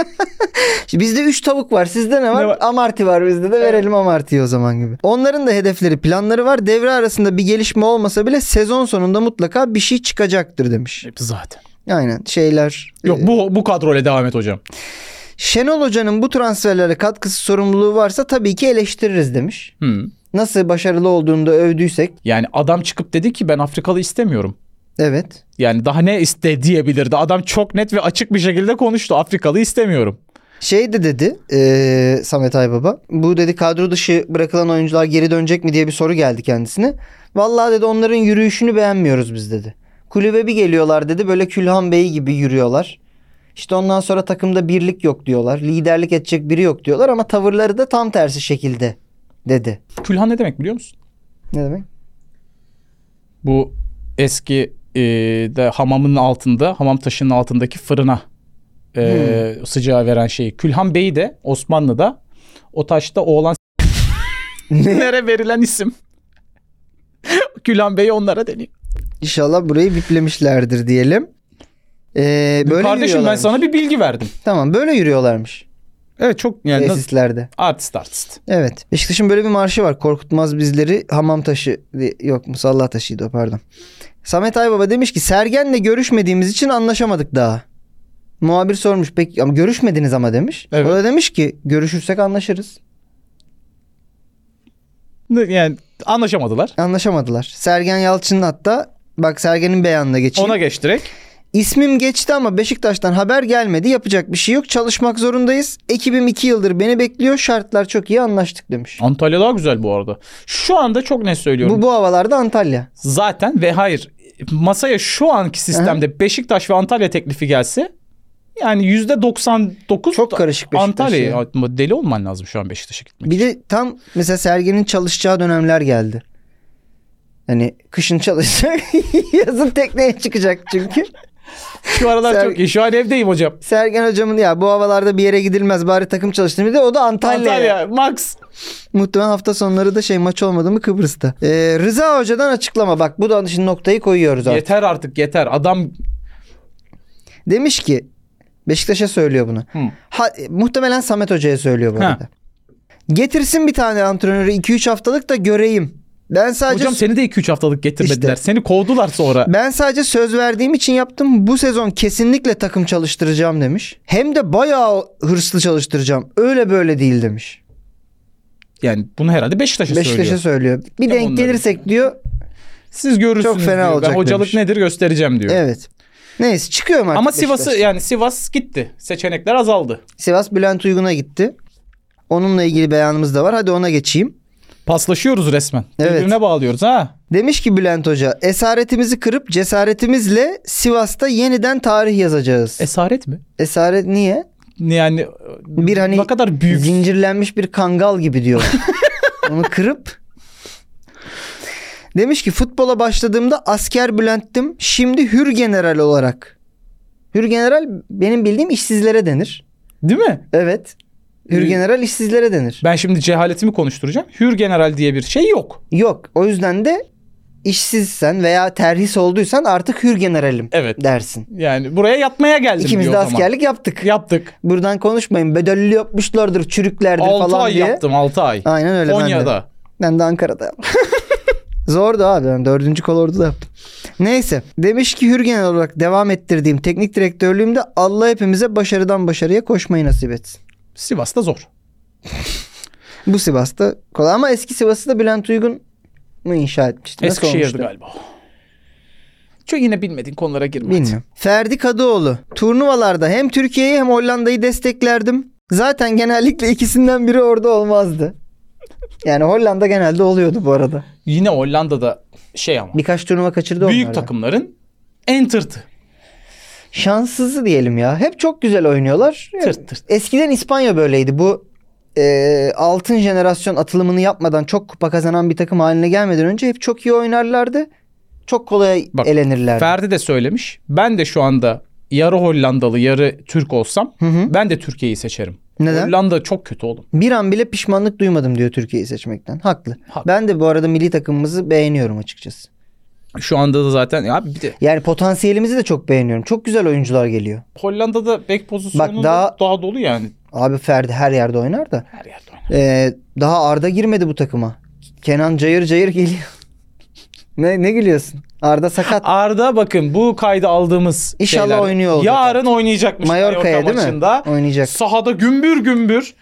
Speaker 2: [laughs] Şimdi bizde 3 tavuk var. Sizde ne var?
Speaker 3: Ne var?
Speaker 2: Amarti var bizde de verelim amartiyi o zaman gibi. Onların da hedefleri, planları var. Devre arasında bir gelişme olmasa bile sezon sonunda mutlaka bir şey çıkacaktır demiş.
Speaker 3: Zaten.
Speaker 2: Aynen şeyler.
Speaker 3: Yok
Speaker 2: e,
Speaker 3: bu bu kadroyla devam et hocam.
Speaker 2: Şenol Hoca'nın bu transferlere katkısı sorumluluğu varsa tabii ki eleştiririz demiş.
Speaker 3: Hı.
Speaker 2: Nasıl başarılı olduğunda övdüysek
Speaker 3: Hmm. Yani adam çıkıp dedi ki ben Afrikalı istemiyorum.
Speaker 2: evet.
Speaker 3: Yani daha ne iste diyebilirdi. Adam çok net ve açık bir şekilde konuştu. Afrikalı istemiyorum.
Speaker 2: Şey de dedi eee, Samet Aybaba. Bu dedi kadro dışı bırakılan oyuncular geri dönecek mi diye bir soru geldi kendisine. Vallahi dedi onların yürüyüşünü beğenmiyoruz biz dedi. Kulübe bir geliyorlar dedi böyle Külhan Bey gibi yürüyorlar. İşte ondan sonra takımda birlik yok diyorlar. Liderlik edecek biri yok diyorlar ama tavırları da tam tersi şekilde dedi.
Speaker 3: Külhan ne demek biliyor musun?
Speaker 2: Ne demek?
Speaker 3: Bu eski e, de hamamın altında, hamam taşının altındaki fırına e, sıcağı veren şeyi. Külhan Bey'i de Osmanlı'da o taşta oğlan [laughs] nere verilen isim. [laughs] Külhan Bey onlara deniyor.
Speaker 2: İnşallah burayı biplemişlerdir diyelim. Ee, böyle
Speaker 3: Kardeşim ben
Speaker 2: yürüyorlarmış.
Speaker 3: sana bir bilgi verdim.
Speaker 2: Tamam böyle yürüyorlarmış
Speaker 3: Evet çok yani nasıl-
Speaker 2: tesislerde.
Speaker 3: artist artist.
Speaker 2: Evet. Beşiktaş'ın böyle bir marşı var. Korkutmaz bizleri hamam taşı diye- yok musalla taşıydı o pardon. Samet Aybaba demiş ki Sergen'le görüşmediğimiz için anlaşamadık daha. Muhabir sormuş peki ama görüşmediniz ama demiş.
Speaker 3: Evet.
Speaker 2: O da demiş ki görüşürsek anlaşırız.
Speaker 3: Yani anlaşamadılar.
Speaker 2: Anlaşamadılar. Sergen Yalçın'ın hatta bak Sergen'in beyanına geçeyim.
Speaker 3: Ona geç direkt.
Speaker 2: İsmim geçti ama Beşiktaş'tan haber gelmedi. Yapacak bir şey yok. Çalışmak zorundayız. Ekibim 2 yıldır beni bekliyor. Şartlar çok iyi anlaştık demiş.
Speaker 3: Antalya daha güzel bu arada. Şu anda çok net söylüyorum.
Speaker 2: Bu, bu havalarda Antalya.
Speaker 3: Zaten ve hayır masaya şu anki sistemde Beşiktaş ve Antalya teklifi gelse yani yüzde 99
Speaker 2: Çok
Speaker 3: da-
Speaker 2: karışık Beşiktaş
Speaker 3: Antalya'ya
Speaker 2: ya.
Speaker 3: atma- deli olman lazım şu an Beşiktaş'a gitmek.
Speaker 2: Bir de tam mesela Sergen'in çalışacağı dönemler geldi. Hani kışın çalışacak. [laughs] yazın tekneye çıkacak çünkü.
Speaker 3: Şu aralar
Speaker 2: Sen-
Speaker 3: çok iyi. Şu an evdeyim hocam.
Speaker 2: Sergen hocamın ya bu havalarda bir yere gidilmez bari takım çalıştırayım dedi. O da Antalya.
Speaker 3: Antalya, Max.
Speaker 2: Muhtemelen hafta sonları da şey maç olmadı mı Kıbrıs'ta. Ee, Rıza hocadan açıklama bak bu da şimdi noktayı koyuyoruz artık.
Speaker 3: Yeter artık yeter. Adam
Speaker 2: Demiş ki Beşiktaş'a söylüyor bunu.
Speaker 3: Hı.
Speaker 2: Ha, e, muhtemelen Samet Hoca'ya söylüyor bu
Speaker 3: Ha.
Speaker 2: arada. Getirsin bir tane antrenörü 2-3 haftalık da göreyim. Ben sadece
Speaker 3: hocam seni de 2-3 haftalık getirmediler.
Speaker 2: İşte.
Speaker 3: Seni kovdular sonra.
Speaker 2: ben sadece söz verdiğim için yaptım. Bu sezon kesinlikle takım çalıştıracağım demiş. Hem de bayağı hırslı çalıştıracağım. Öyle böyle değil demiş.
Speaker 3: Yani bunu herhalde Beşiktaş'a,
Speaker 2: Beşiktaş'a
Speaker 3: şey söylüyor.
Speaker 2: söylüyor. Bir
Speaker 3: Tam
Speaker 2: denk
Speaker 3: onların.
Speaker 2: gelirsek diyor.
Speaker 3: Siz görürsünüz
Speaker 2: Çok fena
Speaker 3: diyor.
Speaker 2: olacak
Speaker 3: Ben hocalık
Speaker 2: demiş.
Speaker 3: nedir göstereceğim diyor.
Speaker 2: Evet. Neyse çıkıyorum artık.
Speaker 3: Ama Sivas'ı
Speaker 2: Beşiktaş.
Speaker 3: yani Sivas gitti. Seçenekler azaldı.
Speaker 2: Sivas Bülent Uygun'a gitti. Onunla ilgili beyanımız da var. Hadi ona geçeyim.
Speaker 3: Paslaşıyoruz resmen.
Speaker 2: Evet.
Speaker 3: Birbirine bağlıyoruz ha.
Speaker 2: Demiş ki Bülent Hoca esaretimizi kırıp cesaretimizle Sivas'ta yeniden tarih yazacağız.
Speaker 3: Esaret mi?
Speaker 2: Esaret niye?
Speaker 3: Yani
Speaker 2: Bir hani
Speaker 3: ne kadar büyük.
Speaker 2: zincirlenmiş bir kangal gibi
Speaker 3: [laughs]
Speaker 2: diyor. Onu kırıp demiş ki futbola başladığımda asker Bülent'tim. Şimdi hür general olarak. Hür general benim bildiğim işsizlere denir.
Speaker 3: Değil mi?
Speaker 2: Evet. Hür
Speaker 3: Hür-
Speaker 2: general işsizlere denir.
Speaker 3: Ben şimdi cehaletimi konuşturacağım. Hür general diye bir şey yok.
Speaker 2: Yok. O yüzden de işsizsen veya terhis olduysan artık hür generalim
Speaker 3: Evet.
Speaker 2: dersin.
Speaker 3: Yani buraya yatmaya geldim
Speaker 2: İkimiz
Speaker 3: diyor
Speaker 2: de
Speaker 3: o zaman.
Speaker 2: askerlik yaptık.
Speaker 3: Yaptık.
Speaker 2: Buradan konuşmayın. Bedelli yapmışlardır, çürüklerdir
Speaker 3: 6
Speaker 2: falan
Speaker 3: ay
Speaker 2: diye.
Speaker 3: yaptım 6 ay.
Speaker 2: Aynen öyle ben de.
Speaker 3: Konya'da.
Speaker 2: Ben de Ankara'da
Speaker 3: [laughs]
Speaker 2: yaptım. Zordu abi. Ben dördüncü kolordu da yaptım. Neyse. Demiş ki Hürgen olarak devam ettirdiğim teknik direktörlüğümde Allah hepimize başarıdan başarıya koşmayı nasip etsin.
Speaker 3: Sivas'ta zor.
Speaker 2: Bu Sivas'ta kolay ama eski Sivas'ı da Bülent Uygun mu inşa etmişti? Nasıl
Speaker 3: Eskişehir'di
Speaker 2: olmuştu?
Speaker 3: galiba. Çok yine bilmediğin konulara girme. hadi.
Speaker 2: Bilmiyorum. Ferdi Kadıoğlu. Turnuvalarda hem Türkiye'yi hem Hollanda'yı desteklerdim. Zaten genellikle ikisinden biri orada olmazdı. Yani Hollanda genelde oluyordu bu arada.
Speaker 3: Yine Hollanda'da şey ama.
Speaker 2: Birkaç turnuva kaçırdı
Speaker 3: Büyük
Speaker 2: onlar da.
Speaker 3: takımların en tırtı.
Speaker 2: Şanssızı diyelim ya. Hep çok güzel oynuyorlar.
Speaker 3: Tırt tırt.
Speaker 2: Eskiden İspanya böyleydi. Bu e, altın jenerasyon atılımını yapmadan çok kupa kazanan bir takım haline gelmeden önce hep çok iyi oynarlardı. Çok kolay
Speaker 3: Bak,
Speaker 2: elenirlerdi.
Speaker 3: Ferdi de söylemiş. Ben de şu anda yarı Hollandalı yarı Türk olsam
Speaker 2: Hı hı.
Speaker 3: ben de Türkiye'yi seçerim.
Speaker 2: Neden?
Speaker 3: Hollanda çok kötü oğlum.
Speaker 2: Bir an bile pişmanlık duymadım diyor Türkiye'yi seçmekten. Haklı.
Speaker 3: Haklı.
Speaker 2: Ben de bu arada milli takımımızı beğeniyorum açıkçası.
Speaker 3: Şu anda da zaten ya bir de
Speaker 2: Yani potansiyelimizi de çok beğeniyorum. Çok güzel oyuncular geliyor.
Speaker 3: Hollanda'da bek pozisyonu
Speaker 2: Bak
Speaker 3: daha...
Speaker 2: daha-
Speaker 3: daha dolu yani.
Speaker 2: Abi Ferdi her yerde oynar da.
Speaker 3: Her yerde oynar.
Speaker 2: Ee, daha Arda girmedi bu takıma. Kenan cayır cayır geliyor. [laughs] ne ne gülüyorsun? Arda
Speaker 3: [laughs]
Speaker 2: sakat.
Speaker 3: Arda bakın bu kaydı aldığımız
Speaker 2: İnşallah
Speaker 3: şeyler-
Speaker 2: oynuyor olacak
Speaker 3: Yarın oynayacakmış
Speaker 2: Mallorca'ya
Speaker 3: Mallorca
Speaker 2: değil mi?
Speaker 3: maçında.
Speaker 2: Oynayacak.
Speaker 3: Sahada gümbür gümbür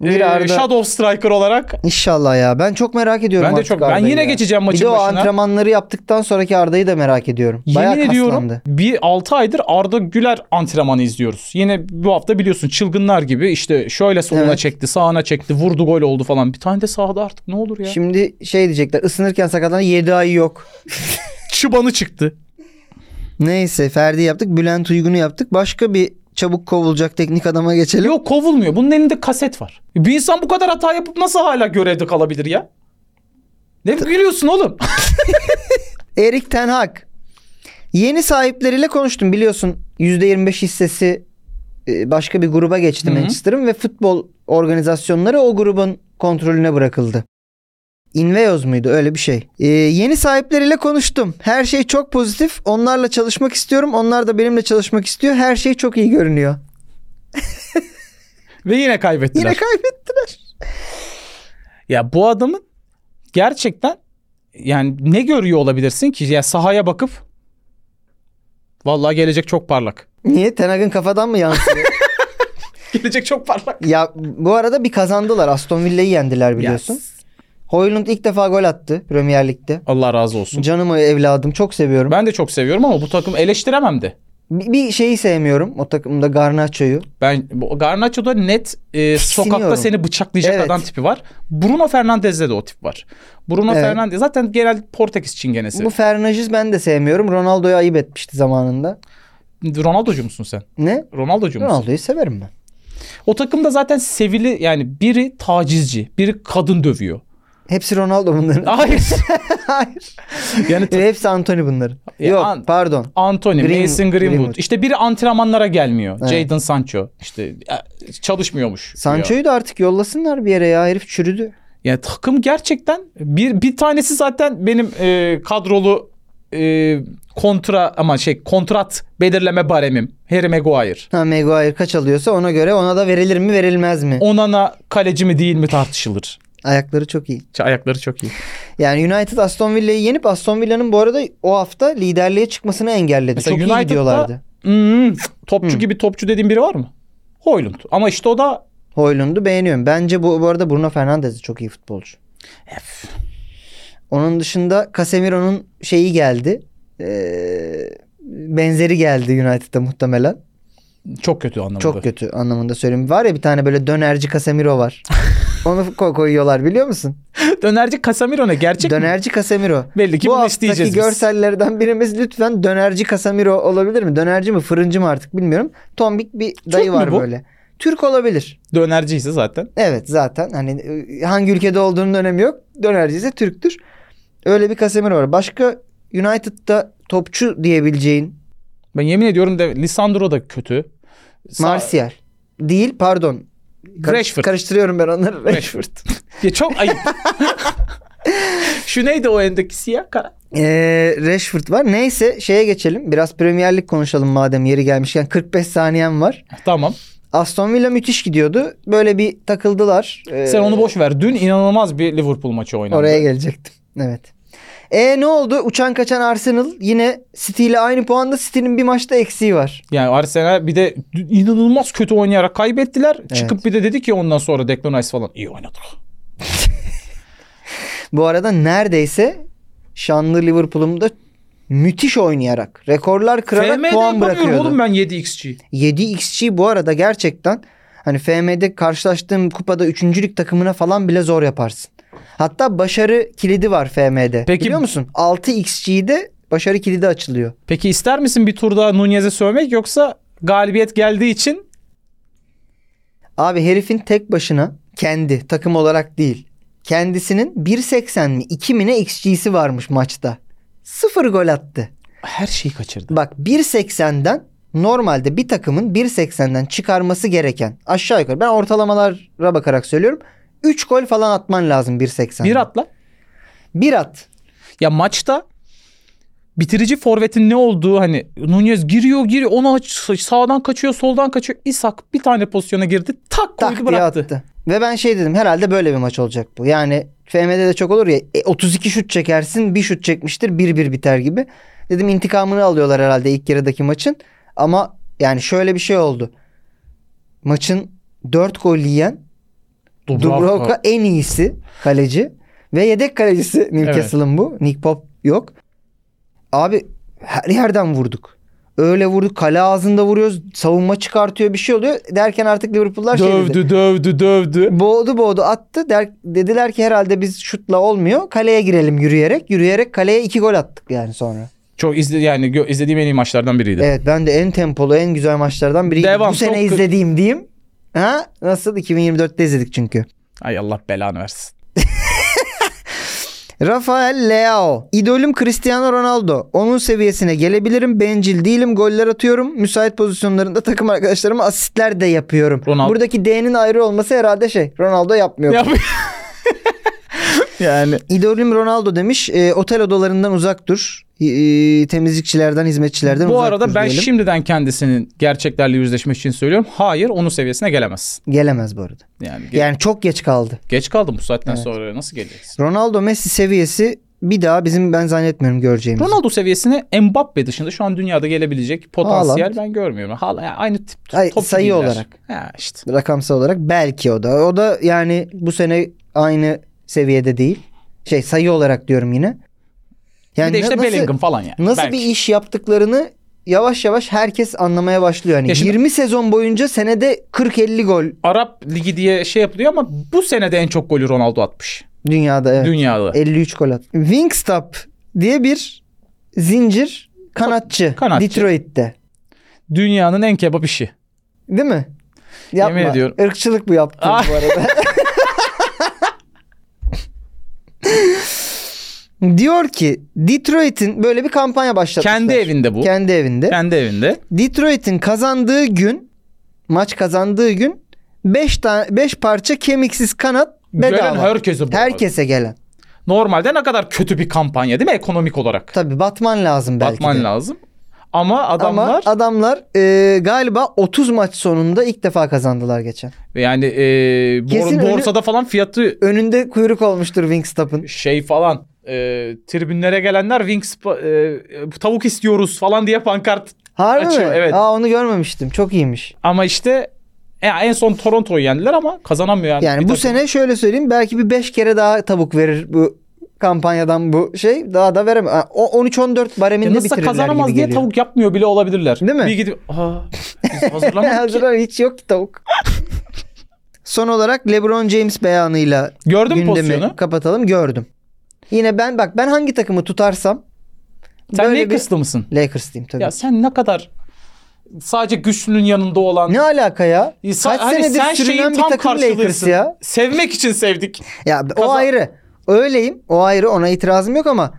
Speaker 2: Bir
Speaker 3: e,
Speaker 2: Arda-
Speaker 3: Shadow Striker olarak
Speaker 2: İnşallah ya. Ben çok merak ediyorum
Speaker 3: Ben de
Speaker 2: artık
Speaker 3: çok- ben
Speaker 2: Arda'yı
Speaker 3: yine
Speaker 2: ya.
Speaker 3: geçeceğim maçın
Speaker 2: Bir de o
Speaker 3: başına.
Speaker 2: antrenmanları yaptıktan sonraki Arda'yı da merak ediyorum. Bayağı
Speaker 3: Yemin ediyorum
Speaker 2: kaslandı.
Speaker 3: bir 6 aydır Arda Güler antrenmanı izliyoruz. Yine bu hafta biliyorsun çılgınlar gibi işte şöyle soluna
Speaker 2: Evet.
Speaker 3: çekti, sağına çekti, vurdu gol oldu falan. Bir tane de sağda artık ne olur ya.
Speaker 2: Şimdi şey diyecekler ısınırken sakatlanan 7 ay yok.
Speaker 3: çıbanı çıktı.
Speaker 2: Neyse Ferdi yaptık. Bülent Uygun'u yaptık. Başka bir çabuk kovulacak teknik adama geçelim.
Speaker 3: Yok kovulmuyor. Bunun elinde kaset var. Bir insan bu kadar hata yapıp nasıl hala görevde kalabilir ya? Ne gülüyorsun [laughs] oğlum?
Speaker 2: Erik Ten Hag. Yeni sahipleriyle konuştum biliyorsun. %25 hissesi e, başka bir gruba geçti
Speaker 3: Hı hı.
Speaker 2: Manchester'ın ve futbol organizasyonları o grubun kontrolüne bırakıldı. Inveos muydu öyle bir şey. E, yeni sahipleriyle konuştum. Her şey çok pozitif. Onlarla çalışmak istiyorum. Onlar da benimle çalışmak istiyor. Her şey çok iyi görünüyor.
Speaker 3: Ve yine kaybettiler.
Speaker 2: Yine kaybettiler.
Speaker 3: ya bu adamın gerçekten yani ne görüyor olabilirsin ki? Ya sahaya bakıp vallahi gelecek çok parlak.
Speaker 2: Niye? Ten Hag'ın kafadan mı yansıyor?
Speaker 3: [laughs] Gelecek çok parlak.
Speaker 2: ya bu arada bir kazandılar. Aston Villa'yı yendiler biliyorsun. Hoylund ilk defa gol attı Premier Lig'de.
Speaker 3: Allah razı olsun.
Speaker 2: Canım o evladım çok seviyorum.
Speaker 3: Ben de çok seviyorum ama bu takım eleştiremem de.
Speaker 2: Bir, bir şeyi sevmiyorum o takımda Garnacho'yu.
Speaker 3: Ben bu Garnacho'da net e, sokakta seni bıçaklayacak
Speaker 2: Evet.
Speaker 3: adam tipi var. Bruno Fernandes'de de o tip var. Bruno
Speaker 2: Evet.
Speaker 3: Fernandes zaten genel Portekiz çingenesi.
Speaker 2: Bu Fernaj'ı ben de sevmiyorum. Ronaldo'yu ayıp etmişti zamanında.
Speaker 3: Ronaldo'cu musun sen?
Speaker 2: Ne?
Speaker 3: Ronaldo'cu musun?
Speaker 2: Ronaldo'yu severim ben.
Speaker 3: O takımda zaten sevili yani biri tacizci, biri kadın dövüyor.
Speaker 2: Hepsi Ronaldo bunların.
Speaker 3: Hayır.
Speaker 2: [laughs] Hayır.
Speaker 3: yani t-
Speaker 2: Hepsi Anthony bunların.
Speaker 3: Ya
Speaker 2: Yok
Speaker 3: an-
Speaker 2: pardon.
Speaker 3: Anthony,
Speaker 2: Green-
Speaker 3: Mason Greenwood.
Speaker 2: Greenwood.
Speaker 3: İşte biri antrenmanlara gelmiyor.
Speaker 2: Evet.
Speaker 3: Jadon Sancho işte e, çalışmıyormuş. diyor.
Speaker 2: Sancho'yu da artık yollasınlar bir yere ya. Herif çürüdü.
Speaker 3: Yani takım gerçekten bir bir tanesi zaten benim e, kadrolu e, kontra ama şey kontrat belirleme baremim Harry Maguire.
Speaker 2: Ha Maguire kaç alıyorsa ona göre ona da verilir mi verilmez mi?
Speaker 3: Onana kaleci mi değil mi tartışılır.
Speaker 2: Ayakları çok iyi.
Speaker 3: Ç- Ayakları çok iyi.
Speaker 2: Yani United Aston Villa'yı yenip Aston Villa'nın bu arada o hafta liderliğe çıkmasını engelledi.
Speaker 3: Mesela
Speaker 2: çok iyi
Speaker 3: United'da-
Speaker 2: gidiyorlardı.
Speaker 3: Hmm, topçu
Speaker 2: Hmm.
Speaker 3: gibi topçu dediğin biri var mı? Hoylund. Ama işte o da
Speaker 2: Hoylund'u beğeniyorum. Bence bu, bu arada Bruno Fernandes de çok iyi futbolcu.
Speaker 3: Ef.
Speaker 2: Onun dışında Casemiro'nun şeyi geldi. Ee, benzeri geldi United'da muhtemelen.
Speaker 3: çok kötü anlamında.
Speaker 2: Çok kötü anlamında söyleyeyim. Var ya bir tane böyle dönerci Casemiro
Speaker 3: [laughs]
Speaker 2: var. Onu ko- koyuyorlar biliyor musun?
Speaker 3: Dönerci Casemiro ne gerçek mi?
Speaker 2: dönerci Casemiro.
Speaker 3: Belli ki
Speaker 2: Bu
Speaker 3: bunu
Speaker 2: haftaki
Speaker 3: isteyeceğiz biz.
Speaker 2: görsellerden birimiz lütfen dönerci Casemiro olabilir mi? Dönerci mi fırıncı mı artık bilmiyorum. Tombik bir dayı
Speaker 3: mu
Speaker 2: var
Speaker 3: bu?
Speaker 2: böyle. Türk olabilir.
Speaker 3: Dönerci ise zaten.
Speaker 2: Evet zaten hani e, hangi ülkede olduğunun önemi yok. Dönerci ise Türktür. Öyle bir Casemiro var. Başka United'da topçu diyebileceğin
Speaker 3: Ben yemin ediyorum de Lisandro da kötü. Sa-
Speaker 2: Martial. Değil pardon. Karış-
Speaker 3: Rashford.
Speaker 2: Karıştırıyorum ben onları. [laughs]
Speaker 3: Rashford. ya çok ayıp. Şu neydi o endeki siyah kara?
Speaker 2: Ee, Rashford var. Neyse şeye geçelim. Biraz Premier Lig konuşalım madem yeri gelmişken. 45 saniyem var.
Speaker 3: Tamam.
Speaker 2: Aston Villa müthiş gidiyordu. Böyle bir takıldılar. Ee,
Speaker 3: Sen onu boş ver. Dün inanılmaz bir Liverpool maçı oynandı.
Speaker 2: Oraya gelecektim. Evet. E ne oldu? Uçan kaçan Arsenal yine City ile aynı puanda. City'nin bir maçta eksiği var.
Speaker 3: Yani Arsenal bir de dün inanılmaz kötü oynayarak kaybettiler. Çıkıp bir de dedi ki ondan sonra Declan Rice falan iyi oynadı.
Speaker 2: Bu arada neredeyse şanlı Liverpool'um da müthiş oynayarak, rekorlar kırarak
Speaker 3: FM'de
Speaker 2: puan
Speaker 3: yapamıyorum
Speaker 2: bırakıyordu.
Speaker 3: oğlum ben 7xG.
Speaker 2: 7xG bu arada gerçekten Hani FM'de karşılaştığım kupada üçüncülük takımına falan bile zor yaparsın. Hatta başarı kilidi var FM'de.
Speaker 3: Peki-
Speaker 2: Biliyor musun? 6xG'de başarı kilidi açılıyor.
Speaker 3: Peki ister misin bir turda Nunez'e sövmek yoksa galibiyet geldiği için
Speaker 2: Abi herifin tek başına kendi takım olarak değil. Kendisinin 1.80 mi 2 mi ne xG'si varmış maçta. Sıfır gol attı.
Speaker 3: her şeyi kaçırdı.
Speaker 2: Bak 1.80'den normalde bir takımın 1.80'den çıkarması gereken aşağı yukarı ben ortalamalara bakarak söylüyorum. 3 gol falan atman lazım 1.80'den.
Speaker 3: Bir atla.
Speaker 2: Bir at.
Speaker 3: Ya maçta bitirici forvetin ne olduğu hani Nunez giriyor giriyor ona aç- sağdan kaçıyor soldan kaçıyor. İshak bir tane pozisyona girdi tak koydu
Speaker 2: tak diye
Speaker 3: bıraktı.
Speaker 2: attı. Ve ben şey dedim herhalde böyle bir maç olacak bu. Yani FM'de de çok olur ya e, 32 şut çekersin bir şut çekmiştir 1-1 biter gibi. Dedim intikamını alıyorlar herhalde ilk yarıdaki maçın. Ama yani şöyle bir şey oldu. Maçın 4 gol yiyen
Speaker 3: Dubravka.
Speaker 2: Dubrovka en iyisi kaleci. Ve yedek kalecisi Newcastle'ın bu. Nick Pop yok. Abi her yerden vurduk. Öyle vurduk. Kale ağzında vuruyoruz. Savunma çıkartıyor bir şey oluyor. Derken artık Liverpool'lar şey dedi.
Speaker 3: Dövdü dövdü dövdü.
Speaker 2: Boğdu boğdu attı. Der, dediler ki herhalde biz şutla olmuyor. Kaleye girelim yürüyerek. Yürüyerek kaleye iki gol attık yani sonra.
Speaker 3: Çok izle yani gö- izlediğim en iyi maçlardan biriydi.
Speaker 2: Evet ben de en tempolu en güzel maçlardan biri.
Speaker 3: Devam,
Speaker 2: Bu sene
Speaker 3: çok kı-
Speaker 2: izlediğim diyeyim. Ha? Nasıl? 2024'te izledik çünkü.
Speaker 3: Ay Allah belanı versin.
Speaker 2: Rafael Leao. İdolüm Cristiano Ronaldo. Onun seviyesine gelebilirim. Bencil değilim. Goller atıyorum. Müsait pozisyonlarında takım arkadaşlarıma asistler de yapıyorum.
Speaker 3: Ronaldo-
Speaker 2: Buradaki D'nin ayrı olması herhalde şey. Ronaldo yapmıyor.
Speaker 3: Ya- yani
Speaker 2: İdolüm Ronaldo demiş. E, otel odalarından uzak dur. E, e, temizlikçilerden, hizmetçilerden
Speaker 3: bu
Speaker 2: uzak
Speaker 3: arada
Speaker 2: dur
Speaker 3: ben
Speaker 2: diyelim.
Speaker 3: şimdiden kendisinin gerçeklerle yüzleşmesi için söylüyorum. Hayır onun seviyesine gelemez.
Speaker 2: Gelemez bu arada.
Speaker 3: Yani ge-
Speaker 2: Yani çok geç kaldı.
Speaker 3: geç kaldım bu saatten
Speaker 2: Evet.
Speaker 3: sonra nasıl geleceksin?
Speaker 2: Ronaldo Messi seviyesi bir daha bizim ben zannetmiyorum göreceğimiz.
Speaker 3: Ronaldo seviyesine Mbappe dışında şu an dünyada gelebilecek potansiyel
Speaker 2: Haaland.
Speaker 3: ben görmüyorum. Hala yani aynı tip
Speaker 2: Ay,
Speaker 3: top
Speaker 2: sayı
Speaker 3: gibiler.
Speaker 2: olarak.
Speaker 3: Ha işte.
Speaker 2: rakamsal olarak belki o da. O da yani bu sene aynı seviyede değil. Şey sayı olarak diyorum yine.
Speaker 3: bir de
Speaker 2: na-
Speaker 3: işte
Speaker 2: nasıl,
Speaker 3: Bellingham falan yani.
Speaker 2: nasıl
Speaker 3: Belki.
Speaker 2: bir iş yaptıklarını yavaş yavaş herkes anlamaya başlıyor. Yani
Speaker 3: Ya şimdi-
Speaker 2: 20 sezon boyunca senede 40-50 gol
Speaker 3: Arap Ligi diye şey yapılıyor ama bu senede en çok golü Ronaldo atmış.
Speaker 2: dünyada. Evet. E-
Speaker 3: Dünyada.
Speaker 2: 53 gol attı. Wingstop diye bir zincir kanatçı,
Speaker 3: Kanatçı.
Speaker 2: Detroit'te.
Speaker 3: Dünyanın en kebap işi.
Speaker 2: Değil mi? Yapma.
Speaker 3: ediyorum.
Speaker 2: Irkçılık bu yaptığın
Speaker 3: Ah.
Speaker 2: bu arada. Diyor ki Detroit'in böyle bir kampanya başlatmışlar.
Speaker 3: Kendi evinde bu.
Speaker 2: Kendi evinde.
Speaker 3: Kendi evinde.
Speaker 2: Detroit'in kazandığı gün maç kazandığı gün 5 tane 5 parça kemiksiz kanat
Speaker 3: Gelen
Speaker 2: bedava.
Speaker 3: herkese bu.
Speaker 2: Herkese gelen.
Speaker 3: Normalde ne kadar kötü bir kampanya değil mi ekonomik olarak?
Speaker 2: Tabii batman lazım belki.
Speaker 3: Batman
Speaker 2: de.
Speaker 3: lazım. Ama adamlar
Speaker 2: Ama adamlar e, galiba 30 maç sonunda ilk defa kazandılar geçen.
Speaker 3: yani e, bor-
Speaker 2: Kesin önü-
Speaker 3: borsada falan fiyatı
Speaker 2: Önünde kuyruk olmuştur Wingstop'ın.
Speaker 3: şey falan e, tribünlere gelenler Wings e, e, tavuk istiyoruz falan diye pankart
Speaker 2: Harbi
Speaker 3: Açıyor,
Speaker 2: mi?
Speaker 3: evet.
Speaker 2: Aa onu görmemiştim. Çok iyiymiş.
Speaker 3: ama işte e, en son Toronto'yu yendiler ama kazanamıyor yani.
Speaker 2: Yani
Speaker 3: Bir
Speaker 2: bu
Speaker 3: takım-
Speaker 2: sene şöyle söyleyeyim belki bir 5 kere daha tavuk verir bu kampanyadan bu şey daha da veremez. Ha, o 13-14
Speaker 3: Ya
Speaker 2: bareminde
Speaker 3: nasıl
Speaker 2: bitirirler
Speaker 3: kazanamaz
Speaker 2: gibi [laughs]
Speaker 3: diye
Speaker 2: geliyor.
Speaker 3: tavuk yapmıyor bile olabilirler.
Speaker 2: Değil mi?
Speaker 3: Bir gidip aa
Speaker 2: [laughs]
Speaker 3: biz hazırlamadık ki.
Speaker 2: Hazır hiç yok ki
Speaker 3: [laughs]
Speaker 2: tavuk. Son olarak LeBron James beyanıyla
Speaker 3: Gördün mü
Speaker 2: gündemi
Speaker 3: pozisyonu?
Speaker 2: kapatalım gördüm. Yine ben bak ben hangi takımı tutarsam
Speaker 3: Sen
Speaker 2: böyle bir-
Speaker 3: Lakers'lı mısın?
Speaker 2: Lakers diyeyim tabii.
Speaker 3: Ya sen ne kadar sadece güçlünün yanında olan
Speaker 2: ne alaka ya?
Speaker 3: Ya sen-
Speaker 2: Kaç
Speaker 3: hani
Speaker 2: senedir
Speaker 3: sen şeyin
Speaker 2: sürünen bir
Speaker 3: tam
Speaker 2: takım Lakers
Speaker 3: karşılığısın.
Speaker 2: ya.
Speaker 3: sevmek için sevdik.
Speaker 2: Ya o
Speaker 3: Kazan-
Speaker 2: ayrı. Öyleyim. O ayrı. Ona itirazım yok ama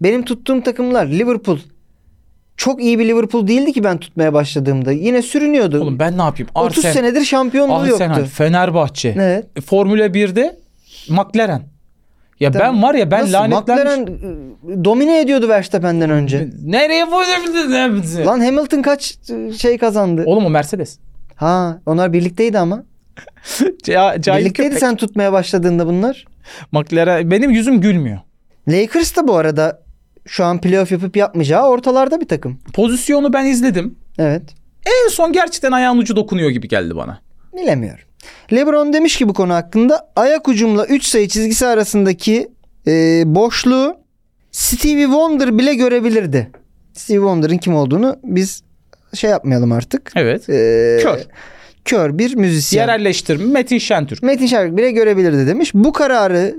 Speaker 2: benim tuttuğum takımlar Liverpool. Çok iyi bir Liverpool değildi ki ben tutmaya başladığımda. Yine sürünüyordu.
Speaker 3: Oğlum ben ne yapayım?
Speaker 2: 30
Speaker 3: Arsen,
Speaker 2: senedir şampiyonluğu
Speaker 3: Arsenal,
Speaker 2: yoktu.
Speaker 3: Fenerbahçe. E,
Speaker 2: Evet.
Speaker 3: Formula 1'de McLaren. Ya
Speaker 2: Tabii.
Speaker 3: ben var ya ben
Speaker 2: Nasıl?
Speaker 3: lanetlenmiş.
Speaker 2: McLaren e, domine ediyordu Verstappen'den önce.
Speaker 3: Nereye koyabildin?
Speaker 2: Lan Hamilton kaç e, şey kazandı?
Speaker 3: Oğlum o Mercedes.
Speaker 2: Ha, onlar birlikteydi ama.
Speaker 3: Ca- Cahil
Speaker 2: Birlikteydi
Speaker 3: köpek.
Speaker 2: sen tutmaya başladığında bunlar.
Speaker 3: McLaren benim yüzüm gülmüyor.
Speaker 2: Lakers da bu arada şu an playoff yapıp yapmayacağı ortalarda bir takım.
Speaker 3: Pozisyonu ben izledim.
Speaker 2: Evet.
Speaker 3: En son gerçekten ayağın ucu dokunuyor gibi geldi bana.
Speaker 2: Bilemiyorum. LeBron demiş ki bu konu hakkında ayak ucumla 3 sayı çizgisi arasındaki e, boşluğu Stevie Wonder bile görebilirdi. Stevie Wonder'ın kim olduğunu biz şey yapmayalım artık.
Speaker 3: Evet.
Speaker 2: E,
Speaker 3: Kör.
Speaker 2: kör bir müzisyen.
Speaker 3: Yerelleştirme Metin Şentürk.
Speaker 2: Metin Şerbik bile görebilirdi demiş. Bu kararı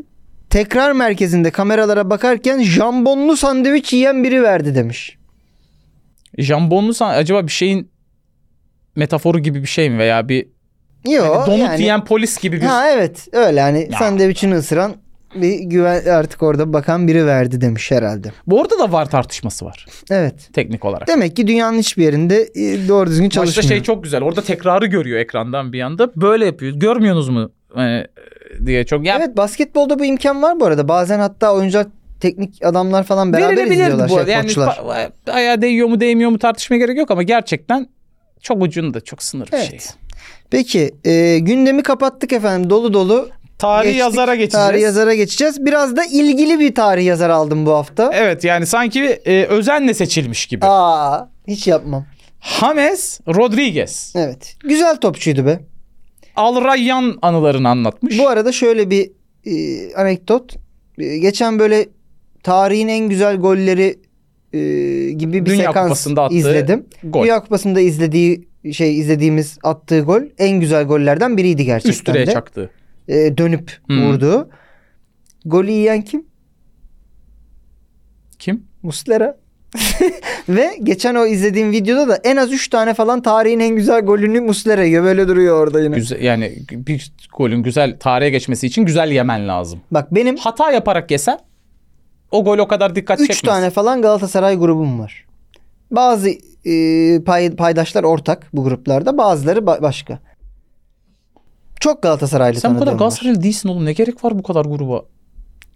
Speaker 2: tekrar merkezinde kameralara bakarken jambonlu sandviç yiyen biri verdi demiş.
Speaker 3: Jambonlu san- acaba bir şeyin metaforu gibi bir şey mi veya bir
Speaker 2: Yo,
Speaker 3: yani Hani donut
Speaker 2: yani-
Speaker 3: yiyen polis gibi bir
Speaker 2: Ha evet öyle hani
Speaker 3: Ya.
Speaker 2: sandviçini ısıran bir güven artık orada bakan biri verdi demiş herhalde.
Speaker 3: Bu arada da var tartışması var
Speaker 2: Evet.
Speaker 3: teknik olarak.
Speaker 2: Demek ki dünyanın hiçbir yerinde e, doğru düzgün
Speaker 3: Başta
Speaker 2: çalışmıyor.
Speaker 3: şey çok güzel. Orada tekrarı görüyor ekrandan bir anda. Böyle yapıyor. Görmüyorsunuz mu? Hani, diye çok. Ya
Speaker 2: Evet basketbolda bu imkan var bu arada. Bazen hatta oyuncular teknik adamlar falan beraber
Speaker 3: Verilebilirdi
Speaker 2: izliyorlar şey,
Speaker 3: arada. Yani
Speaker 2: koçlar.
Speaker 3: pa- ayağa değiyor mu değmiyor mu tartışmaya gerek yok ama gerçekten çok ucunda çok sınır bir
Speaker 2: Evet.
Speaker 3: şey.
Speaker 2: Peki e, gündemi kapattık efendim dolu dolu.
Speaker 3: Tarih
Speaker 2: Geçtik,
Speaker 3: yazara geçeceğiz.
Speaker 2: Tarih yazara geçeceğiz. Biraz da ilgili bir tarih yazar aldım bu hafta.
Speaker 3: Evet yani sanki e, özenle seçilmiş gibi.
Speaker 2: Aa hiç yapmam.
Speaker 3: James Rodriguez.
Speaker 2: Evet. Güzel topçuydu be.
Speaker 3: Al Rayyan anılarını anlatmış.
Speaker 2: Bu arada şöyle bir e, anekdot. E, geçen böyle tarihin en güzel golleri e, gibi bir
Speaker 3: Dünya
Speaker 2: sekans
Speaker 3: Kupası'nda attığı
Speaker 2: izledim.
Speaker 3: Gol.
Speaker 2: Dünya Kupası'nda izlediği şey izlediğimiz attığı gol en güzel gollerden biriydi gerçekten
Speaker 3: Üst direğe
Speaker 2: de.
Speaker 3: çaktı.
Speaker 2: E, dönüp
Speaker 3: Hmm.
Speaker 2: vurdu. Golü yiyen kim?
Speaker 3: Kim?
Speaker 2: Muslera. [laughs] Ve geçen o izlediğim videoda da en az 3 tane falan tarihin en güzel golünü Muslera yiyor. Böyle duruyor orada yine.
Speaker 3: Güzel, yani bir golün güzel tarihe geçmesi için güzel yemen lazım.
Speaker 2: Bak benim
Speaker 3: Hata yaparak yesen o gol o kadar dikkat
Speaker 2: 3
Speaker 3: çekmez.
Speaker 2: tane falan Galatasaray grubum var. Bazı e, pay- paydaşlar ortak bu gruplarda. Bazıları ba- başka. Çok Galatasaraylı
Speaker 3: Sen bu kadar
Speaker 2: tanıdığım var.
Speaker 3: Galatasaraylı değilsin oğlum. Ne gerek var bu kadar gruba?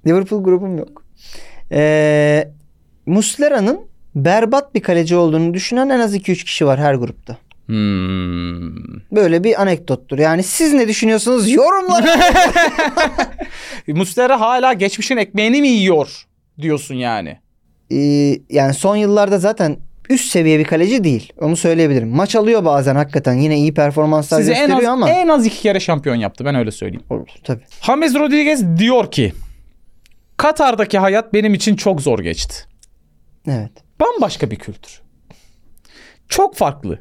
Speaker 2: Liverpool grubum yok. Ee, Muslera'nın berbat bir kaleci olduğunu düşünen en az 2-3 kişi var her grupta.
Speaker 3: Hmm.
Speaker 2: Böyle bir anekdottur. Yani siz ne düşünüyorsunuz?
Speaker 3: [laughs]
Speaker 2: Yorumlara.
Speaker 3: Muslera hala geçmişin ekmeğini mi yiyor diyorsun yani.
Speaker 2: Ee, yani son yıllarda zaten üst seviye bir kaleci değil. Onu söyleyebilirim. Maç alıyor bazen hakikaten. Yine iyi performanslar
Speaker 3: Sizi en
Speaker 2: gösteriyor
Speaker 3: az,
Speaker 2: ama.
Speaker 3: en az iki kere şampiyon yaptı ben öyle söyleyeyim.
Speaker 2: Olur, Tabii.
Speaker 3: James Rodriguez diyor ki Katar'daki hayat benim için çok zor geçti.
Speaker 2: Evet.
Speaker 3: Bambaşka bir kültür. Çok farklı.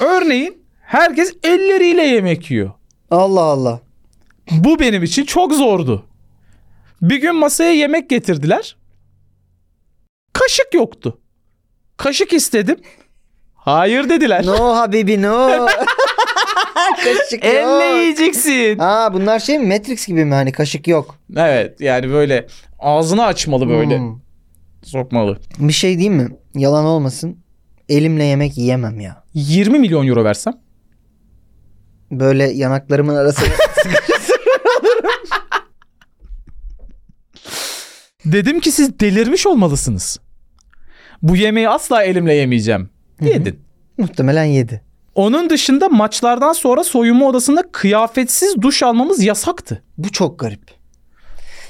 Speaker 3: Örneğin herkes elleriyle yemek yiyor.
Speaker 2: Allah Allah.
Speaker 3: Bu benim için çok zordu. Bir gün masaya yemek getirdiler. Kaşık yoktu. Kaşık istedim. Hayır dediler.
Speaker 2: No habibi no. [laughs] kaşık
Speaker 3: Elle
Speaker 2: yok.
Speaker 3: yiyeceksin.
Speaker 2: Aa bunlar şey mi? Matrix gibi mi? Hani kaşık yok.
Speaker 3: Evet yani böyle ağzını açmalı böyle
Speaker 2: Hmm.
Speaker 3: sokmalı.
Speaker 2: Bir şey diyeyim mi? Yalan olmasın. Elimle yemek yiyemem ya.
Speaker 3: 20 milyon euro versem.
Speaker 2: Böyle yanaklarımın arasına [laughs]
Speaker 3: Dedim ki siz delirmiş olmalısınız. Bu yemeği asla elimle yemeyeceğim. Yedin.
Speaker 2: muhtemelen yedi.
Speaker 3: Onun dışında maçlardan sonra soyunma odasında kıyafetsiz duş almamız yasaktı.
Speaker 2: Bu çok garip.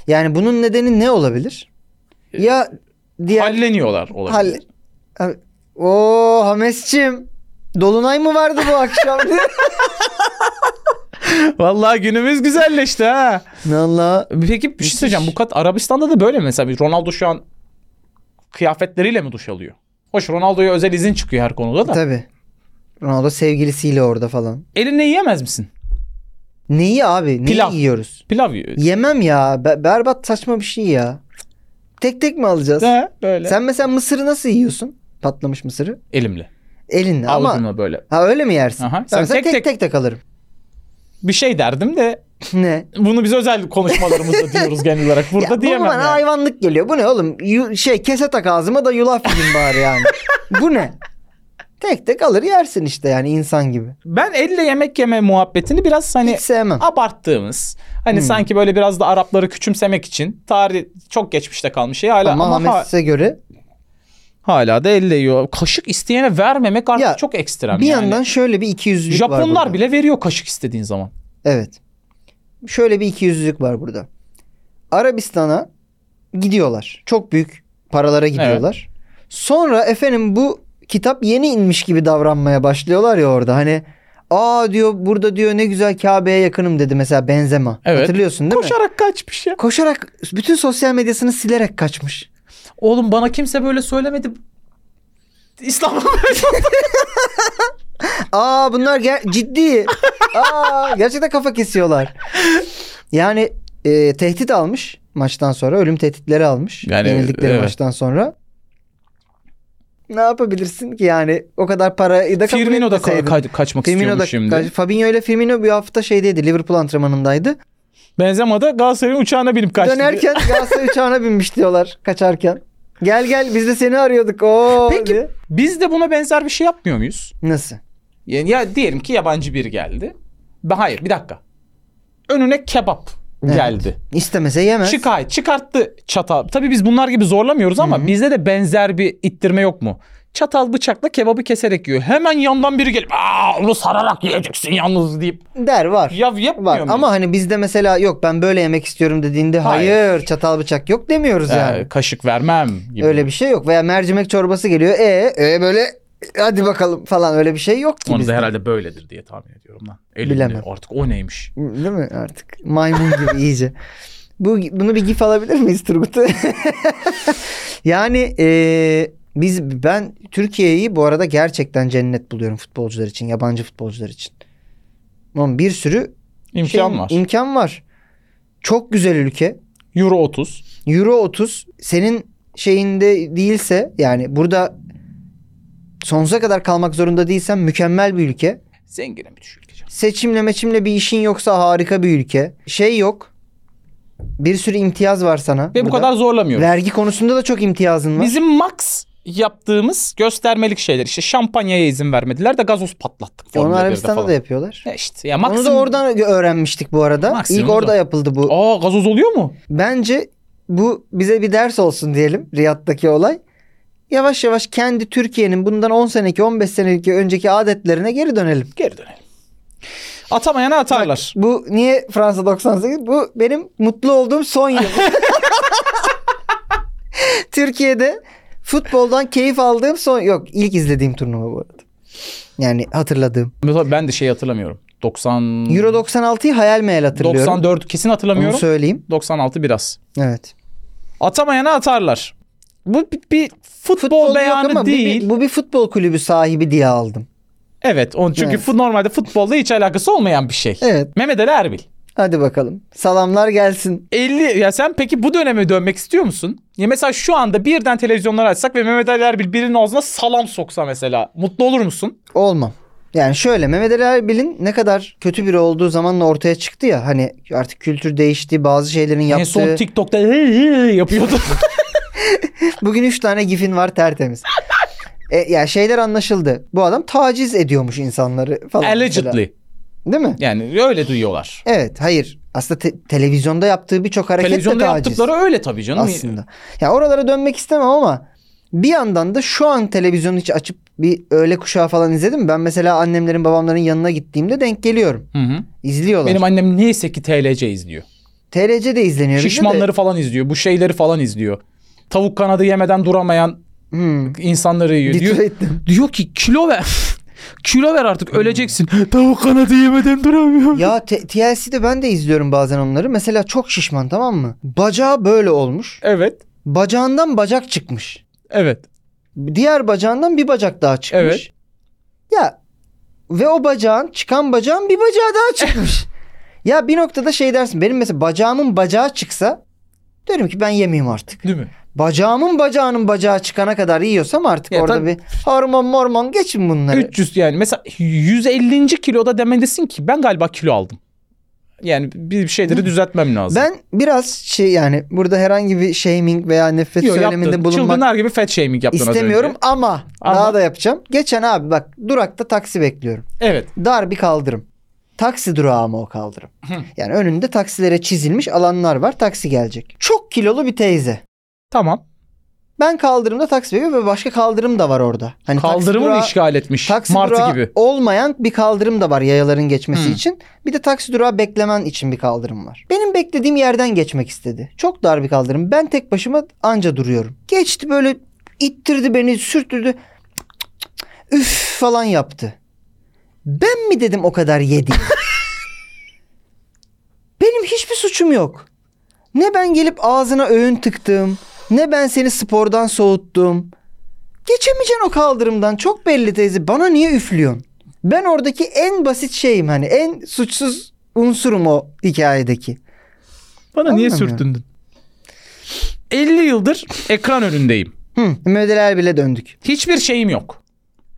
Speaker 2: Yani bunun nedeni ne olabilir? Ya diğer...
Speaker 3: Halleniyorlar Ee, olabilir.
Speaker 2: Halle- Abi- Oo Hames'cim. Dolunay mı vardı bu
Speaker 3: [laughs]
Speaker 2: akşam?
Speaker 3: Vallahi günümüz güzelleşti ha.
Speaker 2: Valla
Speaker 3: Peki bir şey söyleyeceğim. Bu kat Arabistan'da da böyle mi? Mesela bir Ronaldo şu an kıyafetleriyle mi duş alıyor? Hoş Ronaldo'ya özel izin çıkıyor her konuda da.
Speaker 2: tabii. Ronaldo sevgilisiyle orada falan.
Speaker 3: Elinle yiyemez misin?
Speaker 2: Neyi abi? Neyi
Speaker 3: Pilav.
Speaker 2: yiyoruz?
Speaker 3: Pilav yiyor.
Speaker 2: Yemem ya. Be- berbat saçma bir şey ya. Tek tek mi alacağız?
Speaker 3: Ha, böyle.
Speaker 2: Sen mesela mısırı nasıl yiyorsun? Patlamış mısırı.
Speaker 3: Elimle.
Speaker 2: Elinle ama.
Speaker 3: Avucumla böyle.
Speaker 2: Ha öyle mi yersin?
Speaker 3: Aha.
Speaker 2: Ben
Speaker 3: Sen
Speaker 2: mesela
Speaker 3: tek
Speaker 2: tek,
Speaker 3: tek-
Speaker 2: tek tek alırım.
Speaker 3: Bir şey derdim de
Speaker 2: [laughs] ne?
Speaker 3: bunu biz
Speaker 2: [laughs]
Speaker 3: özel konuşmalarımızda diyoruz genel olarak. Burada
Speaker 2: ya,
Speaker 3: diyemem
Speaker 2: bu bana
Speaker 3: yani.
Speaker 2: hayvanlık geliyor. Bu ne oğlum? Yu- şey kese tak ağzıma da yulaf yiyeyim bari yani. bu ne? Tek tek alır yersin işte yani insan gibi.
Speaker 3: Ben elle yemek yeme muhabbetini biraz hani
Speaker 2: Hiç Hmm. sevmem.
Speaker 3: abarttığımız hani sanki böyle biraz da Arapları küçümsemek için tarih çok geçmişte kalmış şey hala ama,
Speaker 2: Ama,
Speaker 3: ha-
Speaker 2: Ahmet'e göre
Speaker 3: hala da elle yiyor. Kaşık isteyene vermemek artık
Speaker 2: Ya,
Speaker 3: çok ekstrem
Speaker 2: bir
Speaker 3: yani.
Speaker 2: yandan şöyle bir ikiyüzlülük var
Speaker 3: Japonlar
Speaker 2: burada.
Speaker 3: bile veriyor kaşık istediğin zaman.
Speaker 2: Evet. Şöyle bir ikiyüzlülük var burada. Arabistan'a gidiyorlar. Çok büyük paralara gidiyorlar. Sonra efendim bu kitap yeni inmiş gibi davranmaya başlıyorlar ya orada. Hani aa diyor burada diyor ne güzel Kabe'ye yakınım dedi mesela Benzema.
Speaker 3: Evet.
Speaker 2: Hatırlıyorsun değil mi?
Speaker 3: Koşarak kaçmış ya.
Speaker 2: Koşarak bütün sosyal medyasını silerek kaçmış. [laughs]
Speaker 3: Oğlum bana kimse böyle söylemedi. İslam'a
Speaker 2: Aa bunlar ger-
Speaker 3: [laughs]
Speaker 2: ciddi. Aa gerçekten kafa kesiyorlar. Yani e, tehdit almış maçtan sonra. Ölüm tehditleri almış.
Speaker 3: Yani,
Speaker 2: yenildikleri
Speaker 3: evet.
Speaker 2: maçtan sonra. Ne yapabilirsin ki yani o kadar parayı da kabul
Speaker 3: Firmino da ka-
Speaker 2: etmeseydin.
Speaker 3: ka- kaçmak
Speaker 2: Firmino
Speaker 3: istiyormuş
Speaker 2: da
Speaker 3: şimdi.
Speaker 2: kaç- Fabinho ile Firmino bir hafta şeydeydi. Liverpool antrenmanındaydı.
Speaker 3: Benzema da Galatasaray'ın uçağına binip kaçtı.
Speaker 2: Dönerken
Speaker 3: [laughs]
Speaker 2: Galatasaray uçağına binmiş diyorlar kaçarken. Gel gel biz de seni arıyorduk. Oo
Speaker 3: Peki.
Speaker 2: diye.
Speaker 3: Biz de buna benzer bir şey yapmıyor muyuz?
Speaker 2: Nasıl?
Speaker 3: Yani ya diyelim ki yabancı biri geldi. Ben- Hayır bir dakika. Önüne kebap
Speaker 2: Evet.
Speaker 3: geldi.
Speaker 2: İstemese yemez.
Speaker 3: Çıkay çıkarttı çatal. Tabii biz bunlar gibi zorlamıyoruz ama bizde de benzer bir ittirme yok mu? Çatal bıçakla kebabı keserek yiyor. Hemen yandan biri gelip aa onu sararak yiyeceksin yalnız deyip.
Speaker 2: Der var.
Speaker 3: Ya yapmıyor
Speaker 2: Var
Speaker 3: muyuz?
Speaker 2: ama hani bizde mesela yok ben böyle yemek istiyorum dediğinde hayır,
Speaker 3: Hayır.
Speaker 2: çatal bıçak yok demiyoruz
Speaker 3: Ee,
Speaker 2: yani.
Speaker 3: kaşık vermem gibi.
Speaker 2: Öyle bir şey yok veya mercimek çorbası geliyor e e böyle hadi bakalım falan öyle bir şey yok ki
Speaker 3: Onu
Speaker 2: bizde.
Speaker 3: da herhalde böyledir diye tahmin ediyorum lan. Elinde
Speaker 2: Bilemem.
Speaker 3: artık o neymiş?
Speaker 2: Değil mi artık maymun gibi iyice. Bu bunu bir gif alabilir miyiz Turgut'u? [laughs] yani e, biz ben Türkiye'yi bu arada gerçekten cennet buluyorum futbolcular için, yabancı futbolcular için. Ama bir sürü
Speaker 3: İmkan
Speaker 2: şey-
Speaker 3: var.
Speaker 2: imkan var. Çok güzel ülke.
Speaker 3: Euro 30.
Speaker 2: Euro 30 senin şeyinde değilse yani burada sonsuza kadar kalmak zorunda değilsen mükemmel bir ülke.
Speaker 3: Zengine bir düşük ülke.
Speaker 2: Seçimle meçimle bir işin yoksa harika bir ülke. Şey yok. Bir sürü imtiyaz var sana.
Speaker 3: Ve bu
Speaker 2: burada.
Speaker 3: kadar zorlamıyoruz.
Speaker 2: Vergi konusunda da çok imtiyazın var.
Speaker 3: Bizim max yaptığımız göstermelik şeyler. İşte şampanyaya izin vermediler de gazoz patlattık. Formula
Speaker 2: Onu
Speaker 3: 1'de
Speaker 2: Arabistan'da
Speaker 3: falan.
Speaker 2: da yapıyorlar.
Speaker 3: Ya işte ya E, maksimum.
Speaker 2: Onu da oradan öğrenmiştik bu arada.
Speaker 3: Maksimum
Speaker 2: İlk orada
Speaker 3: da.
Speaker 2: yapıldı bu.
Speaker 3: Aa gazoz oluyor mu?
Speaker 2: Bence bu bize bir ders olsun diyelim Riyad'daki olay. Yavaş yavaş kendi Türkiye'nin bundan 10 seneki 15 seneki önceki adetlerine geri dönelim.
Speaker 3: Geri dönelim. Atamayana atarlar.
Speaker 2: Bu niye Fransa 98? Bu benim mutlu olduğum son yıl.
Speaker 3: [laughs]
Speaker 2: Türkiye'de futboldan keyif aldığım son yok ilk izlediğim turnuva bu arada. Yani hatırladığım.
Speaker 3: Mesela ben de şey hatırlamıyorum. 90
Speaker 2: Euro 96'yı hayal meyal hatırlıyorum.
Speaker 3: 94 kesin
Speaker 2: Onu
Speaker 3: hatırlamıyorum.
Speaker 2: söyleyeyim.
Speaker 3: 96 biraz.
Speaker 2: Evet.
Speaker 3: Atamayana atarlar. Bu bir, bir futbol,
Speaker 2: Futbol
Speaker 3: beyanı
Speaker 2: yok ama bu bir-
Speaker 3: değil.
Speaker 2: bu bir futbol kulübü sahibi diye aldım.
Speaker 3: Evet. On, çünkü
Speaker 2: Evet.
Speaker 3: fut- normalde futbolda hiç alakası olmayan bir şey.
Speaker 2: Evet.
Speaker 3: Mehmet Ali Erbil.
Speaker 2: Hadi bakalım. Salamlar gelsin.
Speaker 3: 50 ya sen peki bu döneme dönmek istiyor musun? Ya mesela şu anda birden televizyonlar açsak ve Mehmet Ali Erbil birinin ağzına salam soksa mesela mutlu olur musun?
Speaker 2: Olmam. Yani şöyle Mehmet Ali Erbil'in ne kadar kötü biri olduğu zamanla ortaya çıktı ya. Hani artık kültür değişti bazı şeylerin
Speaker 3: En
Speaker 2: yaptığı.
Speaker 3: Hani son TikTok'ta "Hey, hey,
Speaker 2: [laughs]
Speaker 3: hey" yapıyordu.
Speaker 2: Bugün 3 tane gifin var tertemiz. e, ya şeyler anlaşıldı. Bu adam taciz ediyormuş insanları falan. mesela.
Speaker 3: Allegedly.
Speaker 2: Değil mi?
Speaker 3: Yani öyle duyuyorlar.
Speaker 2: Evet hayır. Aslında te- televizyonda yaptığı birçok hareket
Speaker 3: Televizyonda
Speaker 2: de taciz.
Speaker 3: yaptıkları öyle tabii canım.
Speaker 2: aslında. Ya oralara dönmek istemem ama bir yandan da şu an televizyonu hiç açıp bir öğle kuşağı falan izledim. Ben mesela annemlerin babamların yanına gittiğimde denk geliyorum.
Speaker 3: Hı hı.
Speaker 2: İzliyorlar.
Speaker 3: Benim annem neyse ki TLC izliyor.
Speaker 2: TRC de izleniyor. bizde de.
Speaker 3: Şişmanları falan izliyor. Bu şeyleri falan izliyor. Tavuk kanadı yemeden duramayan
Speaker 2: Hmm.
Speaker 3: insanları yiyor. Diyor,
Speaker 2: Detroit'tim.
Speaker 3: diyor ki kilo ver. [laughs] kilo ver artık öleceksin. Tavuk kanadı yemeden duramıyorum.
Speaker 2: Hmm. ya T- TLC'de ben de izliyorum bazen onları. Mesela çok şişman tamam mı? Bacağı böyle olmuş.
Speaker 3: Evet.
Speaker 2: Bacağından bacak çıkmış.
Speaker 3: Evet.
Speaker 2: Diğer bacağından bir bacak daha çıkmış.
Speaker 3: Evet.
Speaker 2: Ya ve o bacağın çıkan bacağın bir bacağı daha
Speaker 3: [laughs]
Speaker 2: çıkmış. ya bir noktada şey dersin. Benim mesela bacağımın bacağı çıksa derim ki ben yemeyeyim artık.
Speaker 3: Değil mi?
Speaker 2: Bacağımın bacağının bacağı çıkana kadar yiyorsam artık
Speaker 3: Ya
Speaker 2: orada
Speaker 3: tabii.
Speaker 2: bir hormon mormon geçin bunları.
Speaker 3: 300 yani mesela 150. kiloda demelisin ki ben galiba kilo aldım. Yani bir şeyleri düzeltmem lazım.
Speaker 2: Ben biraz şey yani burada herhangi bir shaming veya nefret
Speaker 3: Yo, yaptın.
Speaker 2: söyleminde bulunmak
Speaker 3: Çılgınlar gibi fat shaming yaptın az önce.
Speaker 2: istemiyorum ama,
Speaker 3: Ama-
Speaker 2: daha da yapacağım. Geçen abi bak durakta taksi bekliyorum.
Speaker 3: Evet.
Speaker 2: Dar bir kaldırım. Taksi durağı ama o kaldırım.
Speaker 3: Hı.
Speaker 2: Yani önünde taksilere çizilmiş alanlar var. Taksi gelecek. Çok kilolu bir teyze.
Speaker 3: Tamam.
Speaker 2: Ben kaldırımda taksi bekliyorum ve başka kaldırım da var orada. Hani taksi
Speaker 3: Kaldırımı mı
Speaker 2: durağı-
Speaker 3: işgal etmiş?
Speaker 2: Taksi
Speaker 3: Martı
Speaker 2: durağı
Speaker 3: gibi.
Speaker 2: olmayan bir kaldırım da var yayaların geçmesi
Speaker 3: Hmm.
Speaker 2: için. Bir de taksi durağı beklemen için bir kaldırım var. Benim beklediğim yerden geçmek istedi. Çok dar bir kaldırım. Ben tek başıma anca duruyorum. Geçti böyle ittirdi beni sürtürdü. Üf falan yaptı. Ben mi dedim o kadar yedim? [laughs] Benim hiçbir suçum yok. Ne ben gelip ağzına öğün tıktım. Ne ben seni spordan soğuttum. Geçemeyeceksin o kaldırımdan. Çok belli teyze. Bana niye üflüyorsun? Ben oradaki en basit şeyim hani en suçsuz unsurum o hikayedeki.
Speaker 3: Bana niye
Speaker 2: Anlamıyorum.
Speaker 3: sürtündün? 50 yıldır ekran önündeyim.
Speaker 2: Hı, müddeler bile döndük.
Speaker 3: Hiçbir şeyim yok.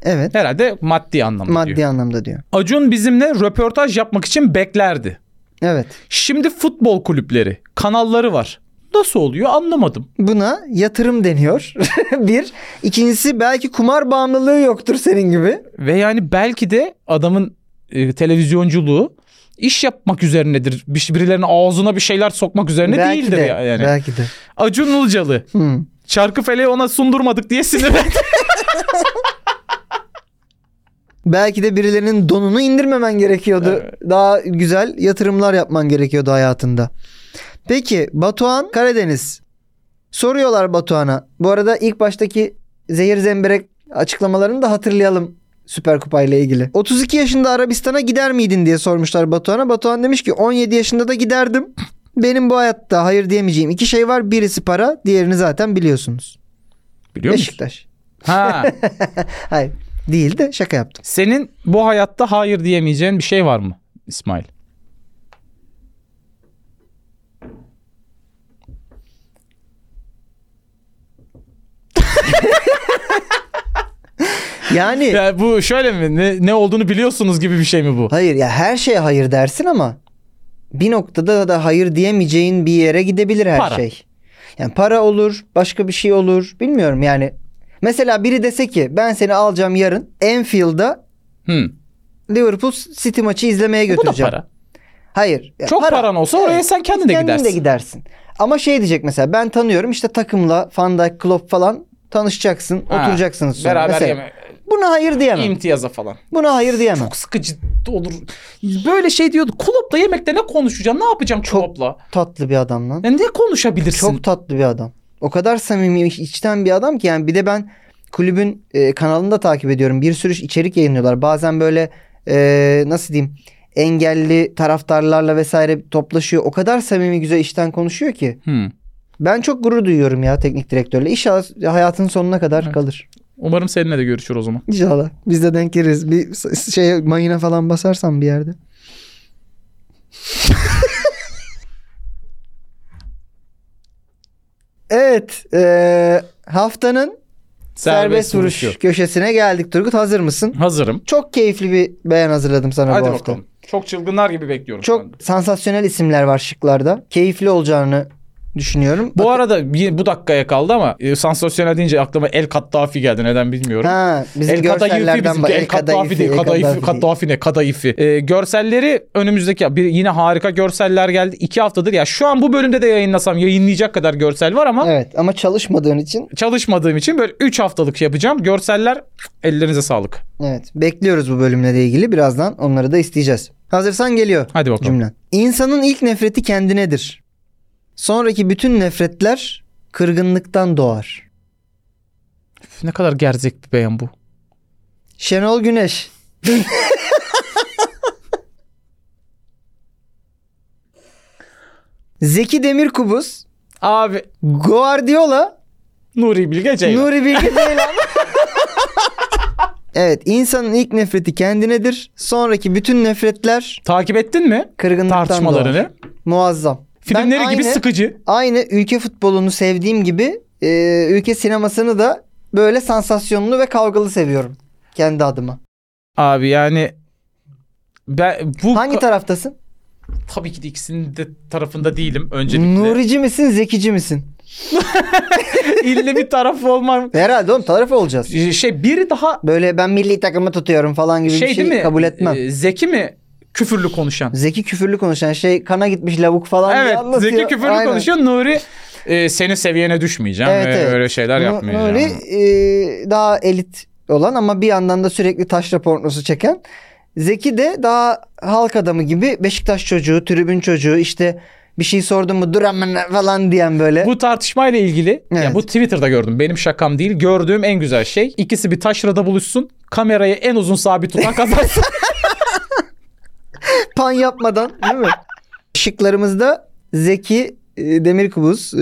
Speaker 2: Evet.
Speaker 3: Herhalde maddi anlamda
Speaker 2: maddi
Speaker 3: diyor.
Speaker 2: anlamda diyor.
Speaker 3: Acun bizimle röportaj yapmak için beklerdi.
Speaker 2: Evet.
Speaker 3: Şimdi futbol kulüpleri, kanalları var. Nasıl oluyor anlamadım.
Speaker 2: Buna yatırım deniyor. [laughs] bir. İkincisi belki kumar bağımlılığı yoktur senin gibi.
Speaker 3: Ve yani belki de adamın e, televizyonculuğu iş yapmak üzerinedir. Bir- Birilerinin ağzına bir şeyler sokmak üzerine
Speaker 2: belki
Speaker 3: değildir
Speaker 2: de,
Speaker 3: ya- yani.
Speaker 2: Belki de.
Speaker 3: Acun Ilıcalı.
Speaker 2: Hı.
Speaker 3: Çarkı feleği ona sundurmadık
Speaker 2: [laughs]
Speaker 3: diye sinirlendi.
Speaker 2: Belki de birilerinin donunu indirmemen gerekiyordu.
Speaker 3: Evet.
Speaker 2: Daha güzel yatırımlar yapman gerekiyordu hayatında. Peki Batuhan Karadeniz. Soruyorlar Batuhan'a. Bu arada ilk baştaki zehir zemberek açıklamalarını da hatırlayalım Süper Kupa ile ilgili. 32 yaşında Arabistan'a gider miydin diye sormuşlar Batuhan'a. Batuhan demiş ki 17 yaşında da giderdim. Benim bu hayatta hayır diyemeyeceğim iki şey var. Birisi para, diğerini zaten biliyorsunuz.
Speaker 3: Biliyor musun?
Speaker 2: Beşiktaş.
Speaker 3: Ha.
Speaker 2: Hayır, değil de şaka yaptım.
Speaker 3: Senin bu hayatta hayır diyemeyeceğin bir şey var mı İsmail? [laughs]
Speaker 2: Yani
Speaker 3: Ya bu şöyle mi? Ne, ne olduğunu biliyorsunuz gibi bir şey mi bu?
Speaker 2: Hayır ya her şeye hayır dersin ama bir noktada da hayır diyemeyeceğin bir yere gidebilir her
Speaker 3: Para.
Speaker 2: şey. Yani para olur, başka bir şey olur. Bilmiyorum yani. Mesela biri dese ki ben seni alacağım yarın Enfield'a
Speaker 3: Hı.
Speaker 2: Liverpool City maçı izlemeye
Speaker 3: E, Bu da
Speaker 2: götüreceğim.
Speaker 3: para.
Speaker 2: Hayır. ya
Speaker 3: Çok paran olsa oraya sen kendin de gidersin.
Speaker 2: de gidersin. Ama şey diyecek mesela ben tanıyorum işte takımla Van Dijk, Klopp falan tanışacaksın,
Speaker 3: Ha,
Speaker 2: oturacaksınız sonra.
Speaker 3: Beraber
Speaker 2: Mesela
Speaker 3: yeme.
Speaker 2: Buna hayır diyemem.
Speaker 3: imtiyaza falan.
Speaker 2: Buna hayır diyemem.
Speaker 3: Çok sıkıcı olur. Böyle şey diyordu. Kulüpla yemekte ne konuşacaksın? Ne yapacaksın
Speaker 2: Çok-
Speaker 3: kulüpla?
Speaker 2: Tatlı bir adam lan.
Speaker 3: Ya ne konuşabilirsin?
Speaker 2: Çok tatlı bir adam. O kadar samimi içten bir adam ki yani bir de ben kulübün e, kanalını da takip ediyorum. Bir sürü içerik yayınlıyorlar. Bazen böyle e, nasıl diyeyim engelli taraftarlarla vesaire toplaşıyor. O kadar samimi güzel işten konuşuyor ki.
Speaker 3: Hı.
Speaker 2: Ben çok gurur duyuyorum ya teknik direktörle. İnşallah hayatın sonuna kadar
Speaker 3: Evet.
Speaker 2: kalır.
Speaker 3: Umarım seninle de görüşür o zaman.
Speaker 2: İnşallah. Biz de denk geliriz. Bir s- şey mayına falan basarsam bir yerde. [laughs] evet. eee, haftanın serbest, vuruş
Speaker 3: vuruşu.
Speaker 2: köşesine geldik Turgut. Hazır mısın?
Speaker 3: Hazırım.
Speaker 2: Çok keyifli bir beğen hazırladım sana
Speaker 3: Hadi
Speaker 2: bu hafta.
Speaker 3: bakalım. Çok çılgınlar gibi bekliyorum.
Speaker 2: Çok
Speaker 3: ben de.
Speaker 2: sansasyonel isimler var şıklarda. Keyifli olacağını düşünüyorum.
Speaker 3: Bu
Speaker 2: Bak-
Speaker 3: arada bir- bu dakikaya kaldı ama e, sansasyonel deyince aklıma El Kattafi geldi. Neden bilmiyorum.
Speaker 2: ha, bizim
Speaker 3: El Kadayıfi
Speaker 2: görsellerden
Speaker 3: bizim
Speaker 2: bak.
Speaker 3: El Kadayıfi değil. Kadayıfi, Kadayıfi ne? Kadayıfi. Ee, görselleri önümüzdeki bir yine harika görseller geldi. İki haftadır ya şu an bu bölümde de yayınlasam yayınlayacak kadar görsel var ama
Speaker 2: Evet ama çalışmadığın için
Speaker 3: çalışmadığım için böyle 3 haftalık şey yapacağım. Görseller ellerinize sağlık.
Speaker 2: Evet. Bekliyoruz bu bölümle de ilgili. Birazdan onları da isteyeceğiz. Hazırsan geliyor
Speaker 3: Hadi bakalım.
Speaker 2: cümlen. İnsanın ilk nefreti kendinedir. Sonraki bütün nefretler kırgınlıktan doğar.
Speaker 3: Üf, Ne kadar gerzek bir beyan bu.
Speaker 2: Şenol Güneş. [laughs] Zeki Demirkubuz,
Speaker 3: Abi
Speaker 2: Guardiola,
Speaker 3: Nuri Bilge Ceylan.
Speaker 2: Nuri Bilge Ceylan. [laughs] evet, insanın ilk nefreti kendinedir. Sonraki bütün nefretler
Speaker 3: Takip ettin mi
Speaker 2: kırgınlıktan doğar.
Speaker 3: tartışmalarını?
Speaker 2: Muazzam. Ben
Speaker 3: Filmleri gibi
Speaker 2: aynı,
Speaker 3: sıkıcı.
Speaker 2: Aynı ülke futbolunu sevdiğim gibi e, ülke sinemasını da böyle sansasyonlu ve kavgalı seviyorum. Kendi adıma.
Speaker 3: Abi yani ben bu
Speaker 2: Hangi taraftasın?
Speaker 3: tabii ki de ikisinin de tarafında değilim öncelikle. [laughs]
Speaker 2: Nurici misin, zekici misin?
Speaker 3: İlle bir taraf olmam.
Speaker 2: Herhalde oğlum taraf olacağız.
Speaker 3: Şey biri daha
Speaker 2: Böyle ben milli takımı tutuyorum falan gibi
Speaker 3: şey,
Speaker 2: bir şey
Speaker 3: değil mi?
Speaker 2: kabul etmem.
Speaker 3: Ee, Zeki mi küfürlü konuşan?
Speaker 2: Zeki küfürlü konuşan şey kana gitmiş lavuk falan diye
Speaker 3: evet,
Speaker 2: anlatıyor.
Speaker 3: Zeki küfürlü
Speaker 2: Aynen.
Speaker 3: konuşuyor. Nuri e, senin seviyene düşmeyeceğim
Speaker 2: Evet,
Speaker 3: ve
Speaker 2: evet.
Speaker 3: öyle şeyler
Speaker 2: Nu-
Speaker 3: yapmayacağım.
Speaker 2: Nuri e, daha elit olan ama bir yandan da sürekli taşra pornosu çeken. Zeki de daha halk adamı gibi Beşiktaş çocuğu, tribün çocuğu işte bir şey sordun mu dur aman falan diyen böyle.
Speaker 3: Bu tartışmayla ilgili
Speaker 2: E, Evet.
Speaker 3: ya bu Twitter'da gördüm. Benim şakam değil. Gördüğüm en güzel şey. ikisi bir taşrada buluşsun. Kamerayı en uzun sabit tutan [laughs] kazansın.
Speaker 2: Pan yapmadan değil
Speaker 3: [laughs]
Speaker 2: mi? Şıklarımızda Zeki e, Demirkubuz, e,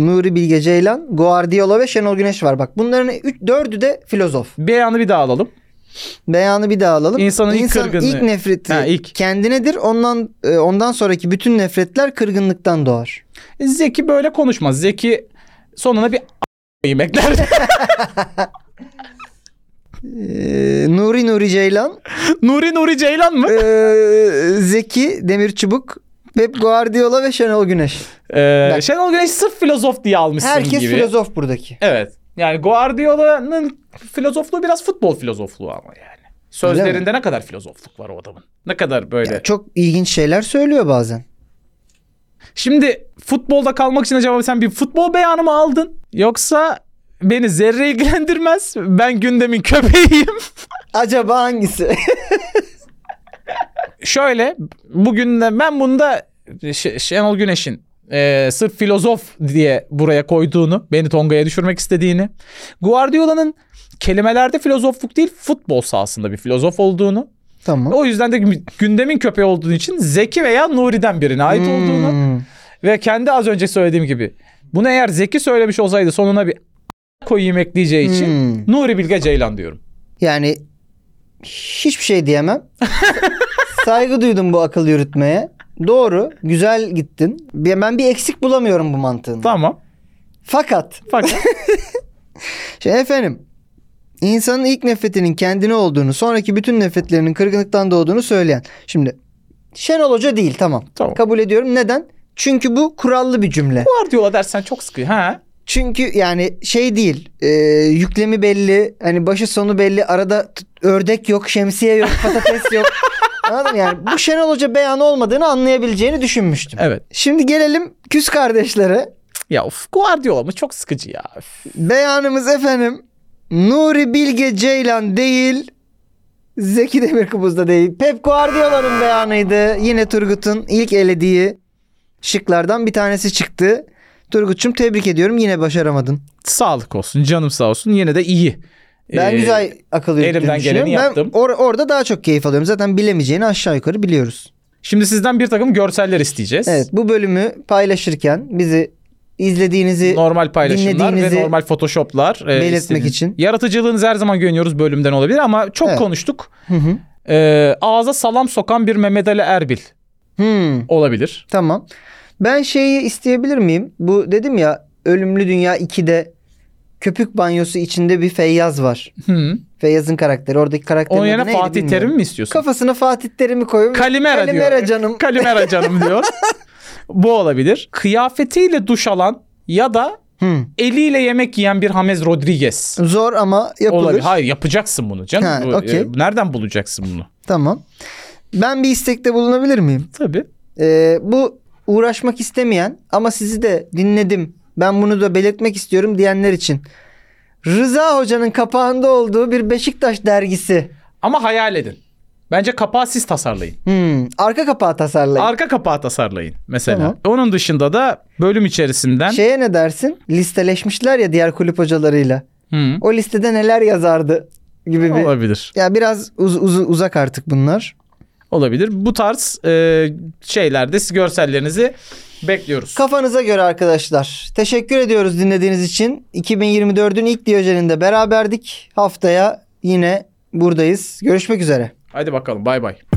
Speaker 2: Nuri Bilge Ceylan, Guardiola ve Şenol Güneş var. Bak bunların üç, dördü de filozof.
Speaker 3: Beyanı bir daha alalım.
Speaker 2: Beyanı bir daha alalım.
Speaker 3: İnsanın ilk
Speaker 2: İnsan
Speaker 3: kırgınlığı.
Speaker 2: ilk nefreti
Speaker 3: Ha, ilk.
Speaker 2: kendinedir. Ondan e, ondan sonraki bütün nefretler kırgınlıktan doğar.
Speaker 3: Zeki böyle konuşmaz. Zeki sonuna bir a**ayı bekler.
Speaker 2: Ee, Nuri Nuri Ceylan,
Speaker 3: [laughs] Nuri Nuri Ceylan mı?
Speaker 2: ee, [laughs] Zeki Demir Çubuk, Pep Guardiola ve Şenol Güneş.
Speaker 3: Ee,
Speaker 2: Bak.
Speaker 3: Şenol Güneş sırf filozof diye almışsın
Speaker 2: Herkes
Speaker 3: gibi.
Speaker 2: filozof buradaki.
Speaker 3: Evet. Yani Guardiola'nın filozofluğu biraz futbol filozofluğu ama yani. Sözlerinde ne kadar filozofluk var o adamın? Ne kadar böyle?
Speaker 2: Ya Çok ilginç şeyler söylüyor bazen.
Speaker 3: Şimdi futbolda kalmak için acaba sen bir futbol beyanı mı aldın? Yoksa beni zerre ilgilendirmez. Ben gündemin köpeğiyim. [laughs]
Speaker 2: Acaba hangisi?
Speaker 3: Şöyle bugün de ben bunda Ş- Şenol Güneş'in e, sırf filozof diye buraya koyduğunu, beni Tonga'ya düşürmek istediğini, Guardiola'nın kelimelerde filozofluk değil futbol sahasında bir filozof olduğunu,
Speaker 2: tamam.
Speaker 3: O yüzden de gündemin köpeği olduğu için Zeki veya Nuri'den birine ait olduğunu
Speaker 2: Hmm.
Speaker 3: ve kendi az önce söylediğim gibi bunu eğer Zeki söylemiş olsaydı sonuna bir koyayım ekleyeceği için
Speaker 2: Hmm.
Speaker 3: Nuri Bilge Ceylan diyorum.
Speaker 2: Yani hiçbir şey
Speaker 3: [laughs]
Speaker 2: diyemem. Saygı duydum bu akıl yürütmeye. Doğru, güzel gittin. Bir- Ben bir eksik bulamıyorum bu mantığını.
Speaker 3: Tamam.
Speaker 2: Fakat
Speaker 3: Fakat
Speaker 2: Şimdi efendim insanın ilk nefretinin kendine olduğunu sonraki bütün nefretlerinin kırgınlıktan doğduğunu söyleyen. Şimdi Şenol Hoca değil tamam.
Speaker 3: Tamam.
Speaker 2: Kabul ediyorum. Neden? Çünkü bu kurallı bir cümle.
Speaker 3: [laughs] Guardiola dersen çok sıkı. Ha?
Speaker 2: Çünkü yani şey değil e, yüklemi belli hani başı sonu belli arada t- ördek yok şemsiye yok patates yok. Anladın mı? yani bu Şenol Hoca beyanı olmadığını anlayabileceğini düşünmüştüm.
Speaker 3: Evet.
Speaker 2: Şimdi gelelim küs kardeşlere.
Speaker 3: Ya of Guardiola mı çok sıkıcı ya. Üf.
Speaker 2: Beyanımız efendim Nuri Bilge Ceylan değil Zeki Demirkubuz da değil. Pep Guardiola'nın beyanıydı. Yine Turgut'un ilk elediği şıklardan bir tanesi çıktı. Turgut'cum tebrik ediyorum yine başaramadın.
Speaker 3: Sağlık olsun canım sağ olsun yine de iyi.
Speaker 2: Ben
Speaker 3: Ee,
Speaker 2: güzel akıl yürüttüğünü
Speaker 3: elimden geleni
Speaker 2: düşünüyorum. Ben
Speaker 3: yaptım.
Speaker 2: or- orada daha çok keyif alıyorum. Zaten bilemeyeceğini aşağı yukarı biliyoruz.
Speaker 3: Şimdi sizden bir takım görseller isteyeceğiz.
Speaker 2: Evet bu bölümü paylaşırken bizi izlediğinizi
Speaker 3: normal paylaşımlar
Speaker 2: dinlediğinizi
Speaker 3: ve normal photoshoplar e,
Speaker 2: belirtmek
Speaker 3: istediğiniz-
Speaker 2: için.
Speaker 3: Yaratıcılığınızı her zaman güveniyoruz bölümden olabilir ama çok
Speaker 2: Evet.
Speaker 3: konuştuk.
Speaker 2: Hı hı.
Speaker 3: E, ağza salam sokan bir Mehmet Ali Erbil
Speaker 2: Hmm.
Speaker 3: olabilir.
Speaker 2: Tamam. Ben şeyi isteyebilir miyim? Bu dedim ya Ölümlü Dünya 2'de köpük banyosu içinde bir Feyyaz var.
Speaker 3: Hı.
Speaker 2: Feyyaz'ın karakteri. Oradaki karakterin
Speaker 3: Onun
Speaker 2: adı
Speaker 3: yerine
Speaker 2: neydi
Speaker 3: Fatih
Speaker 2: bilmiyorum.
Speaker 3: Terim mi istiyorsun?
Speaker 2: Kafasına Fatih Terim'i koyup
Speaker 3: Kalimera, diyor.
Speaker 2: canım.
Speaker 3: [laughs] Kalimera canım diyor. Bu olabilir. Kıyafetiyle duş alan ya da
Speaker 2: Hı.
Speaker 3: eliyle yemek yiyen bir James Rodriguez
Speaker 2: Hmm, Zor ama yapılır.
Speaker 3: olabilir. Hayır yapacaksın bunu canım.
Speaker 2: Ha,
Speaker 3: Bu,
Speaker 2: okey.
Speaker 3: e, nereden bulacaksın bunu?
Speaker 2: Tamam. Ben bir istekte bulunabilir miyim?
Speaker 3: Tabii.
Speaker 2: Ee, bu uğraşmak istemeyen ama sizi de dinledim. Ben bunu da belirtmek istiyorum diyenler için. Rıza Hoca'nın kapağında olduğu bir Beşiktaş dergisi.
Speaker 3: Ama hayal edin. Bence kapağı siz tasarlayın.
Speaker 2: Hmm, arka kapağı tasarlayın.
Speaker 3: Arka kapağı tasarlayın mesela.
Speaker 2: Tamam. Şey
Speaker 3: Onun dışında da bölüm içerisinden
Speaker 2: Şeye ne dersin? Listeleşmişler ya diğer kulüp hocalarıyla.
Speaker 3: Hı,
Speaker 2: O listede neler yazardı gibi bir.
Speaker 3: olabilir.
Speaker 2: Ya biraz uz- uz- uzak artık bunlar.
Speaker 3: Olabilir. Bu tarz e, şeylerde siz görsellerinizi bekliyoruz.
Speaker 2: Kafanıza göre arkadaşlar. Teşekkür ediyoruz dinlediğiniz için. 2024'ün ilk Diyojen'inde beraberdik. Haftaya yine buradayız. Görüşmek üzere.
Speaker 3: Hadi bakalım bay bay.